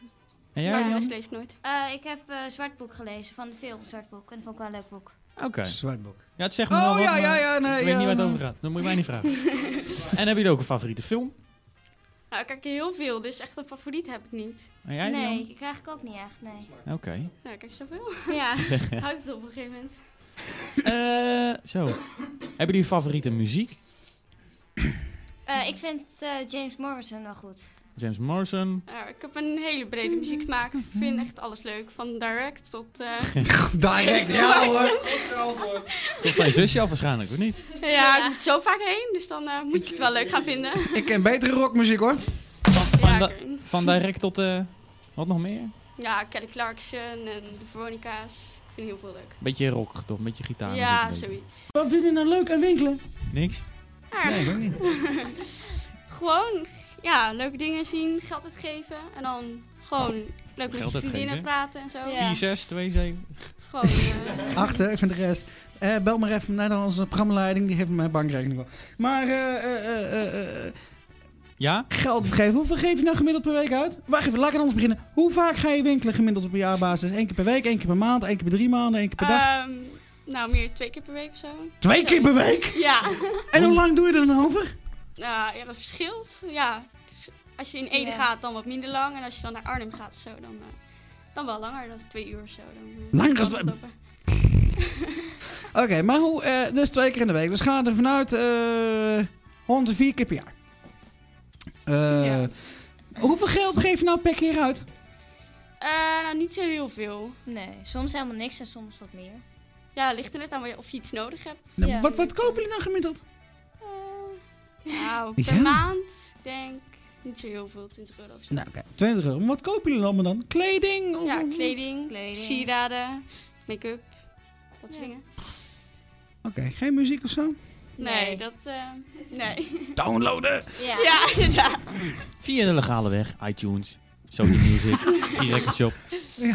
En jij,
ja,
Lianne?
dat lees ik nooit.
Eh, ik heb eh Zwart Boek gelezen van de film Zwart Boek. En dat vond ik wel een leuk boek.
Oké.
Zwart boek.
Ja, het zegt me
Oh,
wel wat,
ja,
maar
ja, ja, nee,
ik weet
ja,
niet waar het over
nee.
gaat. Dan moet je mij niet vragen. en hebben jullie ook een favoriete film?
Nou, ik kijk heel veel, dus echt een favoriet heb ik niet.
En jij,
nee,
Lianne?
ik krijg ik ook niet echt, nee.
Oké.
Nou, ik kijk zoveel. Ja, houdt het op een gegeven moment.
Eh, zo. Hebben jullie favoriete muziek?
Eh, ik vind eh, James Morrison wel goed.
James Morrison.
Nou, ik heb een hele brede muzieksmaak. Ik vind echt alles leuk. Van direct tot... eh,
Direct, ja hoor.
Komt van je zusje al waarschijnlijk, of niet?
ja, ik moet zo vaak heen, dus dan eh, moet je het wel leuk gaan vinden.
Ik ken betere rockmuziek hoor.
Van, da- van direct tot... eh, wat nog meer?
Ja, Kelly Clarkson en de Veronica's. Ik vind heel veel leuk.
Beetje rock, toch? Een beetje gitaar.
ja,
natuurlijk een
zoiets.
Wat vind je nou leuk aan winkelen?
beetje. Niks?
Nee, gewoon, ja, leuke dingen zien, geld uitgeven en dan gewoon leuk met je
Geld
vriendinnen
uitgeven?
praten en zo.
4, 6, 2, 7.
Gewoon, eh,
Achter, ik vind de rest. Eh, bel maar even naar onze programmaleiding, die heeft mijn bankrekening wel. Maar eh, eh, eh, eh, eh,
Ja?
geld geven, hoeveel geef je nou gemiddeld per week uit? Wacht even, laat ik aan ons beginnen. Hoe vaak ga je winkelen gemiddeld op een jaarbasis? Eén keer per week, één keer per maand, één keer per drie maanden, één keer per dag?
ehm, nou, meer twee keer per week of zo.
Twee
Zo.
keer per week?
Ja.
En hoe lang doe je er dan over?
Nou, ja, dat verschilt. Ja, dus als je in Ede
Ja.
gaat, dan wat minder lang. En als je dan naar Arnhem gaat of zo, dan, eh, dan wel langer. Dat is twee uur of zo. Dan, eh,
Langer
kan
dan-
het lopen.
Oké, maar hoe, eh, dus twee keer in de week. Dus ga er vanuit eh 104 keer per jaar. Eh, Hoeveel geld geef je nou per keer uit?
Eh, nou, niet zo heel veel.
Nee, soms helemaal niks en soms wat meer.
Ja, ligt er net aan wat je- of je iets nodig hebt.
Nou, Wat, wat kopen jullie dan gemiddeld?
Nou, per
Ja?
maand denk ik niet zo heel veel, 20 euro of zo.
Nou, oké, 20 euro. Maar wat kopen jullie allemaal dan? Kleding? of-
Ja, kleding,
Kleding.
sieraden, make-up, dat soort dingen.
Oké, geen muziek of zo?
Nee, dat... eh, nee.
Downloaden!
Ja, ja inderdaad.
Via de legale weg. iTunes, Sony Music, Record Shop.
Ja.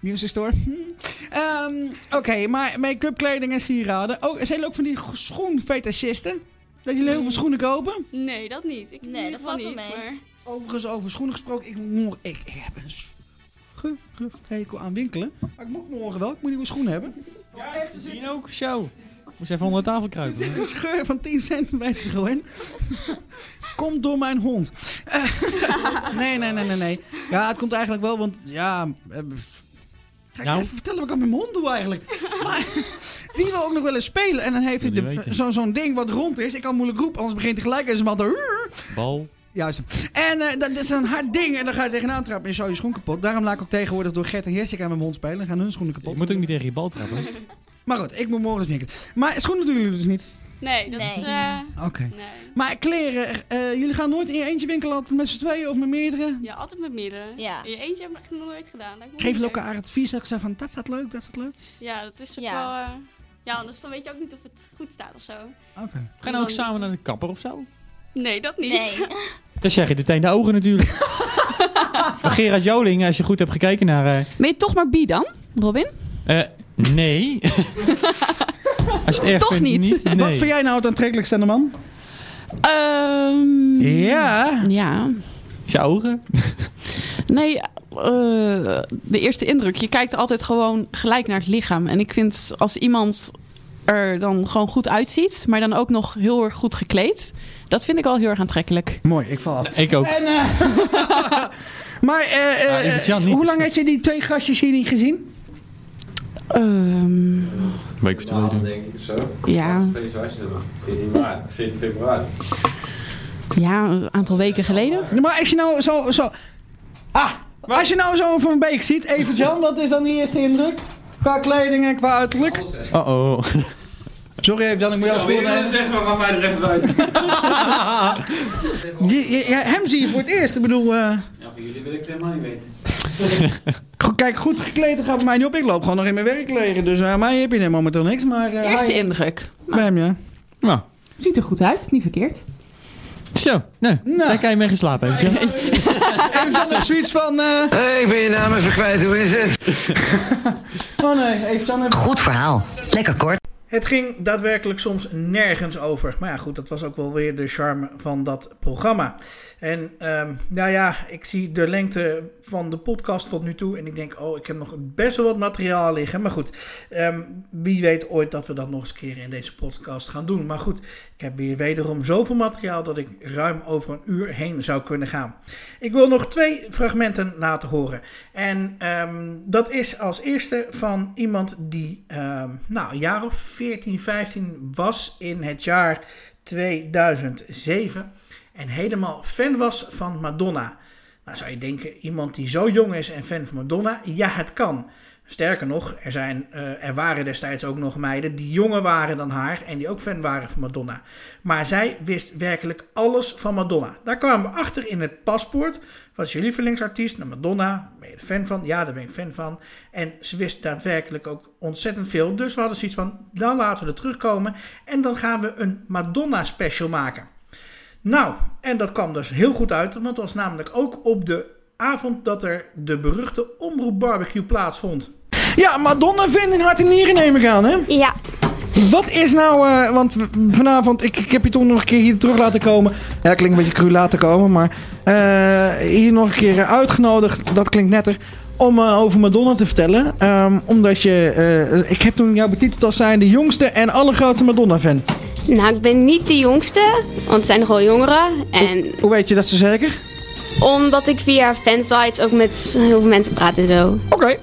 Music Store. Hm. Ehm, Oké, maar make-up, kleding en sieraden. Oh, zijn jullie ook van die schoenfetachisten? Dat jullie heel veel schoenen kopen?
Nee, dat niet. Ik
Nee,
in ieder
dat
geval
valt wel
niet,
mee.
maar...
Overigens, over schoenen gesproken. Ik, moet- ik, ik heb een schuft hekel aan winkelen. Maar ik moet morgen wel. Ik moet nieuwe schoenen hebben.
Zien ook, show. Moest even onder de tafel kruipen.
Een scheur van 10 centimeter gewoon. Komt door mijn hond. Eh, nee, nee, nee, nee, nee. Ja, het komt eigenlijk wel, want ja... eh, Ga ik
Nou?
even vertellen wat ik aan mijn hond doe eigenlijk. Maar die wil ook nog wel eens spelen. En dan heeft hij
Wil
de-
die weten.
zo'n zo'n ding wat rond is. Ik kan moeilijk roepen, anders begint hij gelijk eens een man te...
Bal.
Juist. En eh, dat, dat is een hard ding. En dan ga je tegenaan trappen en is zo je schoen kapot. Daarom laat ik ook tegenwoordig door Gert en Jessica aan mijn hond spelen. En gaan hun schoenen kapot.
Je moet ook niet tegen je bal trappen.
Maar goed, ik moet morgen eens winkelen. Maar schoenen doen jullie dus niet?
Nee, dat is... eh,
Oké. Maar kleren, eh, jullie gaan nooit in je eentje winkelen altijd met z'n tweeën of met meerdere?
ja, altijd met meerdere.
Ja.
In je eentje heb ik dat nog nooit gedaan. Dat ik
Geef
moeilijk.
elkaar advies. Ik zei van, dat staat leuk, dat staat leuk.
Ja, dat is ook
Ja.
wel... eh, ja, anders dan weet je ook niet of het goed staat of zo.
Oké.
Ga je nou ook samen naar de kapper of zo?
Nee, dat niet.
Nee.
Dan zeg je het in de ogen natuurlijk. Gerard Joling, als je goed hebt gekeken naar... eh,
Ben je toch maar bi dan, Robin?
Eh, nee. Als je het erg
Toch
vindt,
niet.
nee.
Wat vind jij nou het aantrekkelijkste aan de man?
Ehm,
Ja.
Ja.
Zijn ogen?
Nee, eh, de eerste indruk. Je kijkt altijd gewoon gelijk naar het lichaam. En ik vind als iemand er dan gewoon goed uitziet, maar dan ook nog heel erg goed gekleed, dat vind ik al heel erg aantrekkelijk.
Mooi, ik val af.
Ik ook.
En, eh, maar eh, eh,
Ah, ik het Jan niet.
hoe lang had je die twee gastjes hier niet gezien?
Ehm,
Week of twee doen.
denk ik zo.
Ja.
Dat is wel iets doen. 14 maart, 14 februari.
ja, een aantal weken geleden.
Maar als je nou zo... zo ah, als je nou zo van Beek ziet, even Jan, wat is dan de eerste indruk? Qua kleding en qua uiterlijk?
Oh-oh.
Sorry even Jan, ik moet jou
Zou je
spoelen.
willen zeggen, we gaan mij er even buiten.
Je- je- ja, hem zie je voor het eerst. Ik bedoel, eh,
Ja, van jullie wil ik het helemaal niet weten.
go- kijk, goed gekleed dat gaat bij mij niet op. Ik loop gewoon nog in mijn werkkleren. Dus aan mij heb je net momenteel niks. Maar, eh,
Eerste
hi.
indruk.
Bij hem, ja.
Nou,
Ziet er goed uit, niet verkeerd.
zo. Nee,
Nou.
daar kan je mee geslapen hebben. Jan.
Even Jan heeft zoiets van... eh,
Hey, ik ben je naam even kwijt, hoe is het?
oh nee, even Jan heeft...
Goed verhaal. Lekker kort.
Het ging daadwerkelijk soms nergens over. Maar ja, goed, dat was ook wel weer de charme van dat programma. En ehm, nou ja, ik zie de lengte van de podcast tot nu toe. En ik denk, oh, ik heb nog best wel wat materiaal liggen. Maar goed, ehm, wie weet ooit dat we dat nog eens een keer in deze podcast gaan doen. Maar goed, ik heb hier wederom zoveel materiaal dat ik ruim over een uur heen zou kunnen gaan. Ik wil nog twee fragmenten laten horen. En ehm, dat is als eerste van iemand die ehm, nou, een jaar of 14, 15 was in het jaar 2007. En helemaal fan was van Madonna. Nou zou je denken, iemand die zo jong is en fan van Madonna, ja het kan. Sterker nog, er, zijn, eh, er waren destijds ook nog meiden die jonger waren dan haar en die ook fan waren van Madonna. Maar zij wist werkelijk alles van Madonna. Daar kwamen we achter in het paspoort. Wat is je lievelingsartiest? Nou, Madonna. Ben je er fan van? Ja, daar ben ik fan van. En ze wist daadwerkelijk ook ontzettend veel. Dus we hadden zoiets van, dan laten we er terugkomen. En dan gaan we een Madonna special maken. Nou, en dat kwam dus heel goed uit, want dat was namelijk ook op de avond dat er de beruchte omroep barbecue plaatsvond.
Ja, Madonna fan in hart en nieren neem ik aan, hè?
Ja.
Wat is nou, eh, want w- vanavond, ik, ik heb je toen nog een keer hier terug laten komen. Ja, klinkt een beetje cru laten komen, maar eh, hier nog een keer eh, uitgenodigd, dat klinkt netter, om eh, over Madonna te vertellen. Ehm, omdat je, eh, ik heb toen jou betiteld als zijn de jongste en allergrootste Madonna-fan.
Nou, ik ben niet de jongste, want het zijn nog wel jongeren. En
Hoe weet je dat zo zeker?
omdat ik via fansites ook met heel veel mensen praat en zo.
Oké.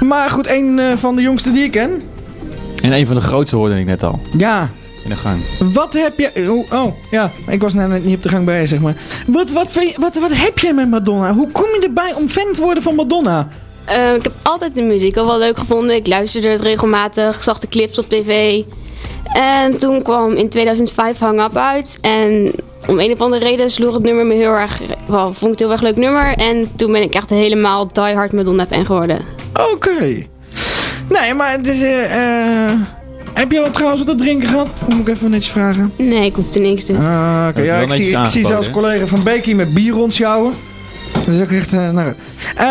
Maar goed, een eh, van de jongste die ik ken.
En een van de grootste hoorde ik net al.
Ja.
In de gang.
Wat heb je... Oh, oh, ja, ik was net net niet op de gang bij, zeg maar. Wat, wat, vind je- wat, wat heb jij met Madonna? Hoe kom je erbij om fan te worden van Madonna?
Eh, ik heb altijd de muziek al wel leuk gevonden. Ik luisterde het regelmatig, ik zag de clips op tv. En toen kwam in 2005 Hang Up uit. En om een of andere reden sloeg het nummer me heel erg... Wel, vond ik het heel erg leuk nummer. En toen ben ik echt helemaal diehard Madonna-fan geworden.
Oké. Nee, maar het is... eh, eh, heb je wel trouwens wat te drinken gehad? Moet ik even netjes vragen.
Nee, ik hoefde niks dus.
Ah, oké.
Dat is
Ja,
wel
ik
netjes
zie, ik zie
aangeboden,
zelfs
hè?
collega van Beekie met bier rondjouwen. Dat is ook echt... eh, nou, goed. Eh,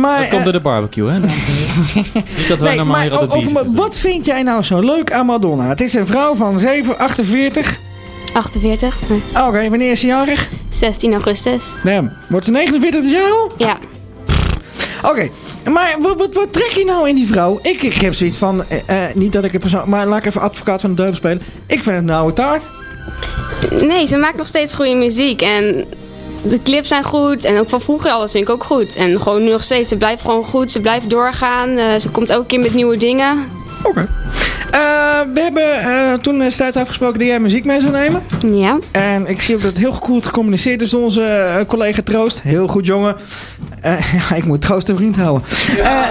maar,
Dat komt
eh,
door de barbecue, hè? dames en heren? Niet dat wij
nee,
normaal hier
maar
altijd
o-
bier
over
zitten.
Ma- wat vind jij nou zo leuk aan Madonna? Het is een vrouw van 7, 48.
48.
Oké, wanneer is ze jarig?
16 augustus.
Nee, wordt ze 49 dit jaar al?
Ja.
Oké, maar wat, wat, wat trek je nou in die vrouw? Ik, ik heb zoiets van, eh, eh, niet dat ik het persoon... Maar laat ik even advocaat van de duivel spelen. Ik vind het een oude taart.
Nee, ze maakt nog steeds goede muziek. En de clips zijn goed. En ook van vroeger alles vind ik ook goed. En gewoon nu nog steeds. Ze blijft gewoon goed. Ze blijft doorgaan. eh, ze komt elke keer met nieuwe dingen.
Oké. Eh, we hebben eh, toen destijds afgesproken dat jij muziek mee zou nemen.
Ja.
En ik zie ook dat het heel goed gecommuniceerd is door onze eh, collega Troost. Heel goed, jongen. Eh, ja, ik moet Troost een vriend houden. Ja,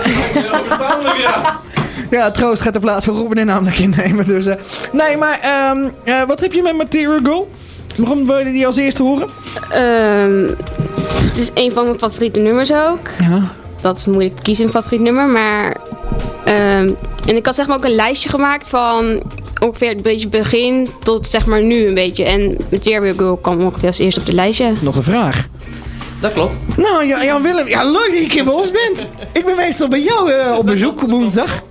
ja.
Ja, Troost gaat de plaats van Robin in namelijk innemen. Dus, eh, nee, maar ehm, eh, wat heb je met Material Girl? Waarom wil je die als eerste horen?
Ehm, het is een van mijn favoriete nummers ook.
Ja.
Dat is moeilijk te kiezen, een favoriet nummer. Maar. ehm, en ik had zeg maar ook een lijstje gemaakt van ongeveer het beetje begin tot zeg maar nu een beetje. En Material Girl kwam ongeveer als eerste op het lijstje.
Nog een vraag. Dat klopt. Nou, Jan, Jan Willem, ja, leuk dat je een keer bij ons bent. Ik ben meestal bij jou eh, op bezoek op woensdag.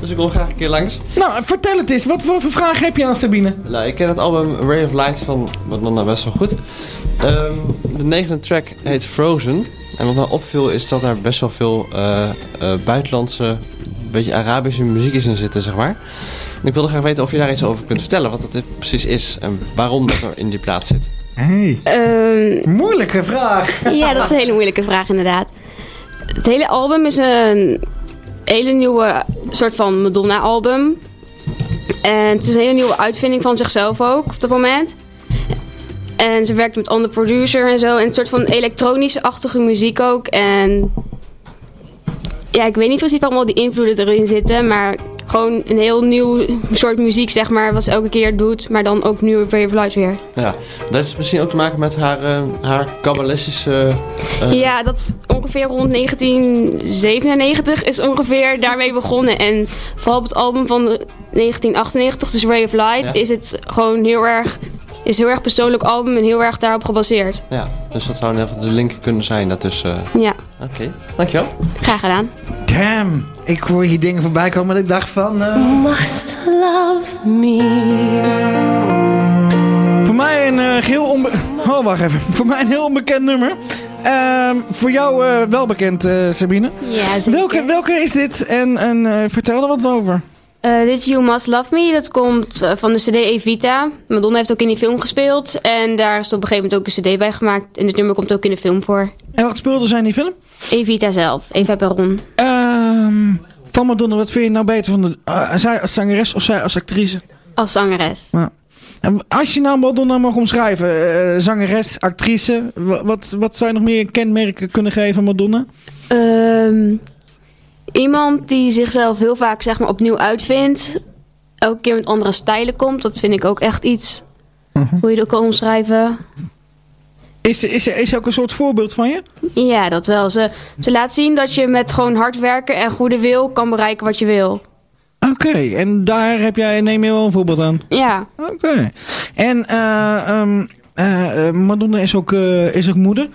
Dus ik wil graag een keer langs.
Nou, vertel het eens. Wat voor voor vraag heb je aan Sabine?
Nou, ik ken het album Ray of Light van Madonna best wel goed. Ehm, de negende track heet Frozen. En wat mij opviel is dat er best wel veel eh, eh, buitenlandse, beetje Arabische muziek is in zitten, zeg maar. En ik wilde graag weten of je daar iets over kunt vertellen, wat dat precies is en waarom dat er in die plaats zit.
Hey.
Ehm,
Moeilijke vraag.
Ja, dat is een hele moeilijke vraag inderdaad. Het hele album is een hele nieuwe soort van Madonna-album. En het is een hele nieuwe uitvinding van zichzelf ook op dat moment. En ze werkt met andere producer en zo. En een soort van elektronische achtige muziek ook. En ja, ik weet niet precies allemaal die invloeden erin zitten. Maar gewoon een heel nieuw soort muziek, zeg maar. Wat ze elke keer doet. Maar dan ook nieuwe Brave Light weer.
Ja, dat heeft misschien ook te maken met haar, eh, haar kabbalistische... eh,
Ja, dat is ongeveer rond 1997 is ongeveer daarmee begonnen. En vooral op het album van 1998, dus Ray of Light,
Ja.
is het gewoon heel erg, is een heel erg persoonlijk album en heel erg daarop gebaseerd.
Ja, dus dat zou in ieder geval de link kunnen zijn daartussen.
Ja,
Oké, dankjewel.
graag gedaan.
Damn. Ik hoor hier dingen voorbij komen en ik dacht van... eh,
Must love me.
Voor mij een eh heel onbe... Oh, wacht even. Voor mij een heel onbekend nummer. Ehm, voor jou eh, wel bekend, eh, Sabine.
Ja, zeker.
Welke, welke is dit? En, en eh, vertel er wat over.
Eh, dit is You Must Love Me, dat komt eh, van de CD Evita. Madonna heeft ook in die film gespeeld. En daar is op een gegeven moment ook een CD bij gemaakt. En dit nummer komt ook in de film voor.
En wat speelde zij in die film?
Evita zelf, Eva Peron.
Ehm, van Madonna, wat vind je nou beter van de, eh, zij als zangeres of zij als actrice?
Als zangeres.
Ja. En als je nou Madonna mag omschrijven, eh, zangeres, actrice, wa- wat, wat zou je nog meer kenmerken kunnen geven aan Madonna?
Ehm, iemand die zichzelf heel vaak zeg maar, opnieuw uitvindt. Elke keer met andere stijlen komt. Dat vind ik ook echt iets. Hoe je dat kan omschrijven.
Is, is, is ze ook een soort voorbeeld van je?
Ja, dat wel. Ze, ze laat zien dat je met gewoon hard werken en goede wil kan bereiken wat je wil.
Oké, en daar heb jij, neem je wel een voorbeeld aan.
Ja.
Oké. En eh, ehm, eh, eh, Madonna is ook, eh, is ook moeder.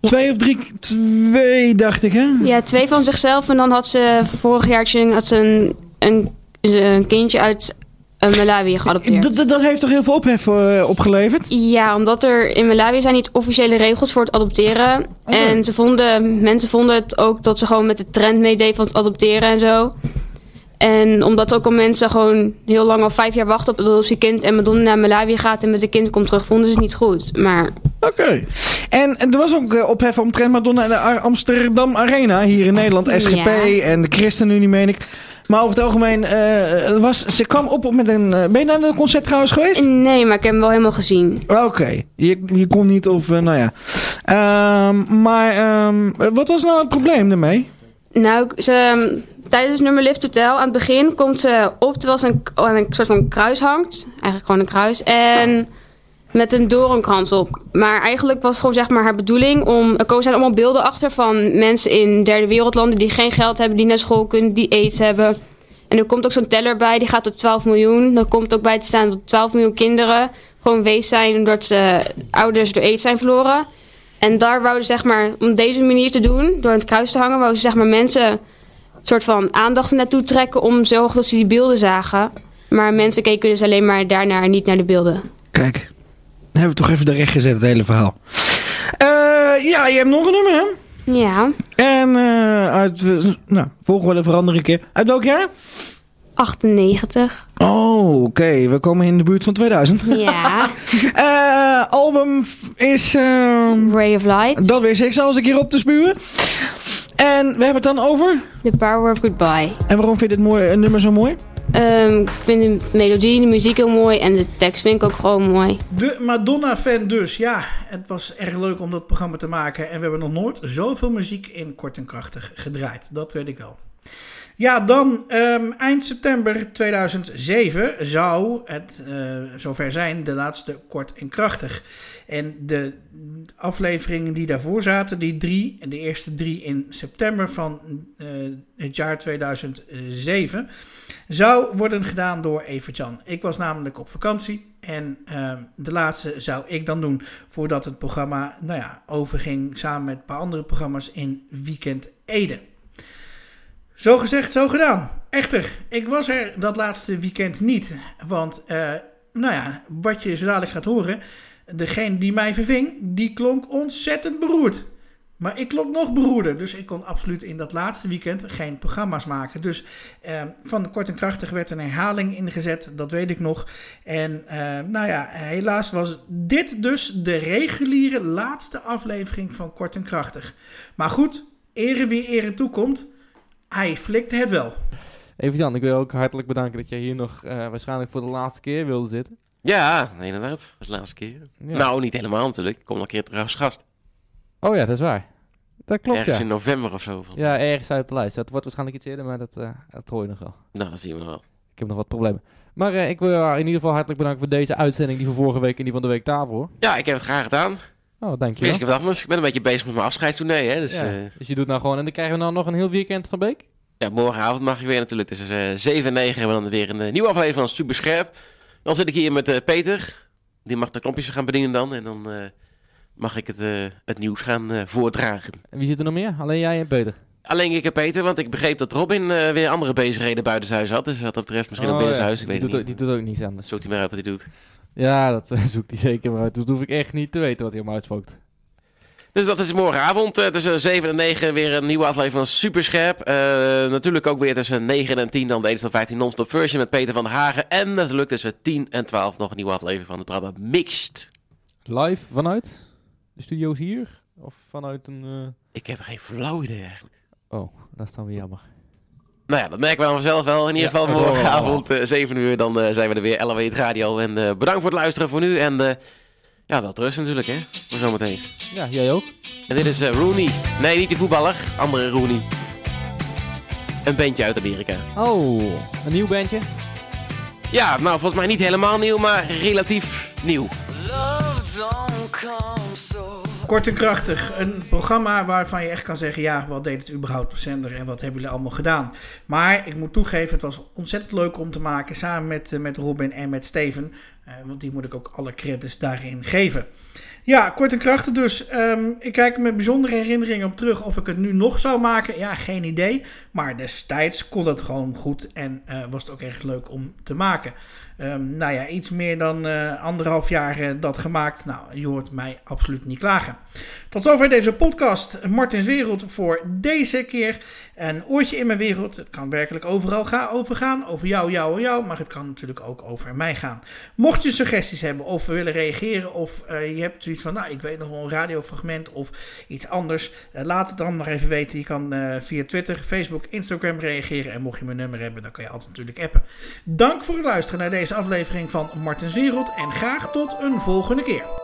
Twee of drie, twee dacht ik hè?
Ja, twee van zichzelf. En dan had ze vorig jaartje had ze een, een, een kindje uit eh, Malawi geadopteerd.
Dat, dat, dat heeft toch heel veel ophef eh, opgeleverd?
Ja, omdat er in Malawi zijn niet officiële regels voor het adopteren. En ze vonden, mensen vonden het ook dat ze gewoon met de trend meedeed van het adopteren en zo. En omdat ook al mensen gewoon heel lang al vijf jaar wachten op het adoptiekind... en Madonna naar Malawi gaat en met een kind komt terug, vonden ze het niet goed. Maar
Oké. En er was ook eh, ophef omtrent Madonna en de Ar- Amsterdam Arena hier in Nederland. SGP
Ja.
en de ChristenUnie, meen ik. Maar over het algemeen, eh, was, ze kwam op met een... eh, ben je naar dat concert trouwens geweest?
nee, maar ik heb hem wel helemaal gezien.
Oké, je, je kon niet of, eh, nou ja. Ehm, maar ehm, wat was nou het probleem daarmee?
Nou, ik- ze, tijdens het nummer Lift to Tell, aan het begin komt ze op terwijl ze een, aan een soort van kruis hangt. Eigenlijk gewoon een kruis. En met een doornkrans op. Maar eigenlijk was gewoon zeg maar haar bedoeling om... Er komen zijn allemaal beelden achter van mensen in derde wereldlanden... die geen geld hebben, die naar school kunnen, die aids hebben. En er komt ook zo'n teller bij, die gaat tot 12 miljoen. Dan komt ook bij te staan dat 12 miljoen kinderen... gewoon wees zijn omdat ze ouders door aids zijn verloren. En daar wouden ze zeg maar, om deze manier te doen, door aan het kruis te hangen, wouden ze zeg maar mensen soort van aandacht er naartoe trekken om zorgen dat ze die beelden zagen. Maar mensen keken dus alleen maar daarnaar en niet naar de beelden.
Kijk, dan hebben we toch even de recht gezet, het hele verhaal. Eh, ja, je hebt nog een nummer, hè?
Ja,
En eh, uit... eh, Nou, volgorde veranderen een keer. Uit welk jaar?
98.
Oh, oké. We komen in de buurt van 2000.
Ja.
Eh, album is... ehm,
Ray of Light.
Dat wist ik zelfs een keer op te spuwen. En we hebben het dan over...
The Power of Goodbye.
En waarom vind je dit mooi, eh, nummer zo mooi?
Ehm, ik vind de melodie, de muziek heel mooi en de tekst vind ik ook gewoon mooi.
De Madonna-fan dus. Ja, het was erg leuk om dat programma te maken. En we hebben nog nooit zoveel muziek in kort en krachtig gedraaid. Dat weet ik wel. Ja, dan ehm, eind september 2007 zou het eh, zover zijn, de laatste kort en krachtig. En de afleveringen die daarvoor zaten, die drie, de eerste drie in september van eh, het jaar 2007, zou worden gedaan door Evert-Jan. Ik was namelijk op vakantie en ehm, de laatste zou ik dan doen voordat het programma nou ja, overging samen met een paar andere programma's in Weekend Ede. Zo gezegd, zo gedaan. Echter, ik was er dat laatste weekend niet. Want, eh, nou ja, wat je zo dadelijk gaat horen... degene die mij verving, die klonk ontzettend beroerd. Maar ik klonk nog beroerder. Dus ik kon absoluut in dat laatste weekend geen programma's maken. Dus eh, van kort en krachtig werd een herhaling ingezet. Dat weet ik nog. En eh, nou ja, helaas was dit dus de reguliere laatste aflevering van kort en krachtig. Maar goed, ere wie ere toekomt... Hij flikte het wel.
Even Jan, ik wil ook hartelijk bedanken dat jij hier nog eh, waarschijnlijk voor de laatste keer wilde zitten.
Ja, inderdaad. Dat was de laatste keer.
Ja.
Nou, niet helemaal natuurlijk. Ik kom nog een keer terug als gast.
Oh ja, dat is waar. Dat klopt
Ergens
ja.
in november of zo. Van.
Ja, ergens uit de lijst. Dat wordt waarschijnlijk iets eerder, maar dat, eh, dat hoor je nog wel.
Nou, dat zien we wel.
Ik heb nog wat problemen. Maar eh, ik wil jou in ieder geval hartelijk bedanken voor deze uitzending, die van vorige week en die van de week daarvoor.
Ja, ik heb het graag gedaan.
Oh, dankjewel.
Wist ik wat anders. Ik ben een beetje bezig met mijn afscheidstournee, hè. Dus,
Ja,
eh,
Dus je doet nou gewoon, en dan krijgen we nou nog een heel weekend van Beek?
ja, morgenavond mag ik weer natuurlijk. Dus eh 7 en 9 hebben we dan weer een eh, nieuwe aflevering van Super Scherp. Dan zit ik hier met eh, Peter. Die mag de knopjes gaan bedienen dan. En dan eh, mag ik het, eh, het nieuws gaan eh, voordragen.
En wie zit er nog meer? Alleen jij en Peter.
Alleen ik en Peter, want ik begreep dat Robin eh, weer andere bezigheden buitenshuis had. Dus wat dat betreft misschien
Oh,
ook binnenshuis,
ja.
ik weet
Die
het
doet
niet.
ook- die doet ook niets anders.
Zoekt hij maar uit wat hij doet.
Ja, dat eh, zoekt hij zeker maar uit. Dat hoef ik echt niet te weten wat hij hem uitspookt.
Dus dat is morgenavond eh, tussen 7 en 9 weer een nieuwe aflevering van Superscherp. Eh natuurlijk ook weer tussen 9 en 10 dan de 115 non-stop version met Peter van der Hagen. En natuurlijk tussen 10 en 12 nog een nieuwe aflevering van het programma Mixed.
Live vanuit de studio's hier? Of vanuit een... eh,
Ik heb geen flauw idee eigenlijk.
Oh, dat is dan weer jammer.
Nou ja, dat merken we dan vanzelf wel. In ieder
Ja,
geval
dat horen we
morgenavond eh 7 uur dan eh, zijn we er weer. LOE het radio. En eh, bedankt voor het luisteren voor nu. En eh, ja, wel terug natuurlijk hè. Voor zometeen.
Ja, jij ook?
En dit is eh, Rooney. Nee, niet die voetballer. Andere Rooney. Een bandje uit Amerika.
Oh, een nieuw bandje?
Ja, nou volgens mij niet helemaal nieuw, maar relatief nieuw.
Kort en krachtig. Een programma waarvan je echt kan zeggen... ja, wat deed het überhaupt op zender en wat hebben jullie allemaal gedaan? Maar ik moet toegeven, het was ontzettend leuk om te maken... samen met, eh, met Robin en met Steven. Eh, want die moet ik ook alle credits daarin geven. Ja, kort en krachtig dus. Ehm, ik kijk er met bijzondere herinneringen op terug of ik het nu nog zou maken. Ja, geen idee. Maar destijds kon dat gewoon goed en eh, was het ook echt leuk om te maken. Ehm, nou ja, iets meer dan eh, anderhalf jaar eh, dat gemaakt. Nou, je hoort mij absoluut niet klagen. Tot zover deze podcast. Martins Wereld voor deze keer. Een oortje in mijn wereld. Het kan werkelijk overal ga overgaan. Over jou, jou en jou. Maar het kan natuurlijk ook over mij gaan. Mocht je suggesties hebben of willen reageren. Of eh, je hebt zoiets van, nou ik weet nog wel een radiofragment of iets anders. eh, laat het dan nog even weten. Je kan eh, via Twitter, Facebook, Instagram reageren. En mocht je mijn nummer hebben, dan kan je altijd natuurlijk appen. Dank voor het luisteren naar deze aflevering van Martins Wereld. En graag tot een volgende keer.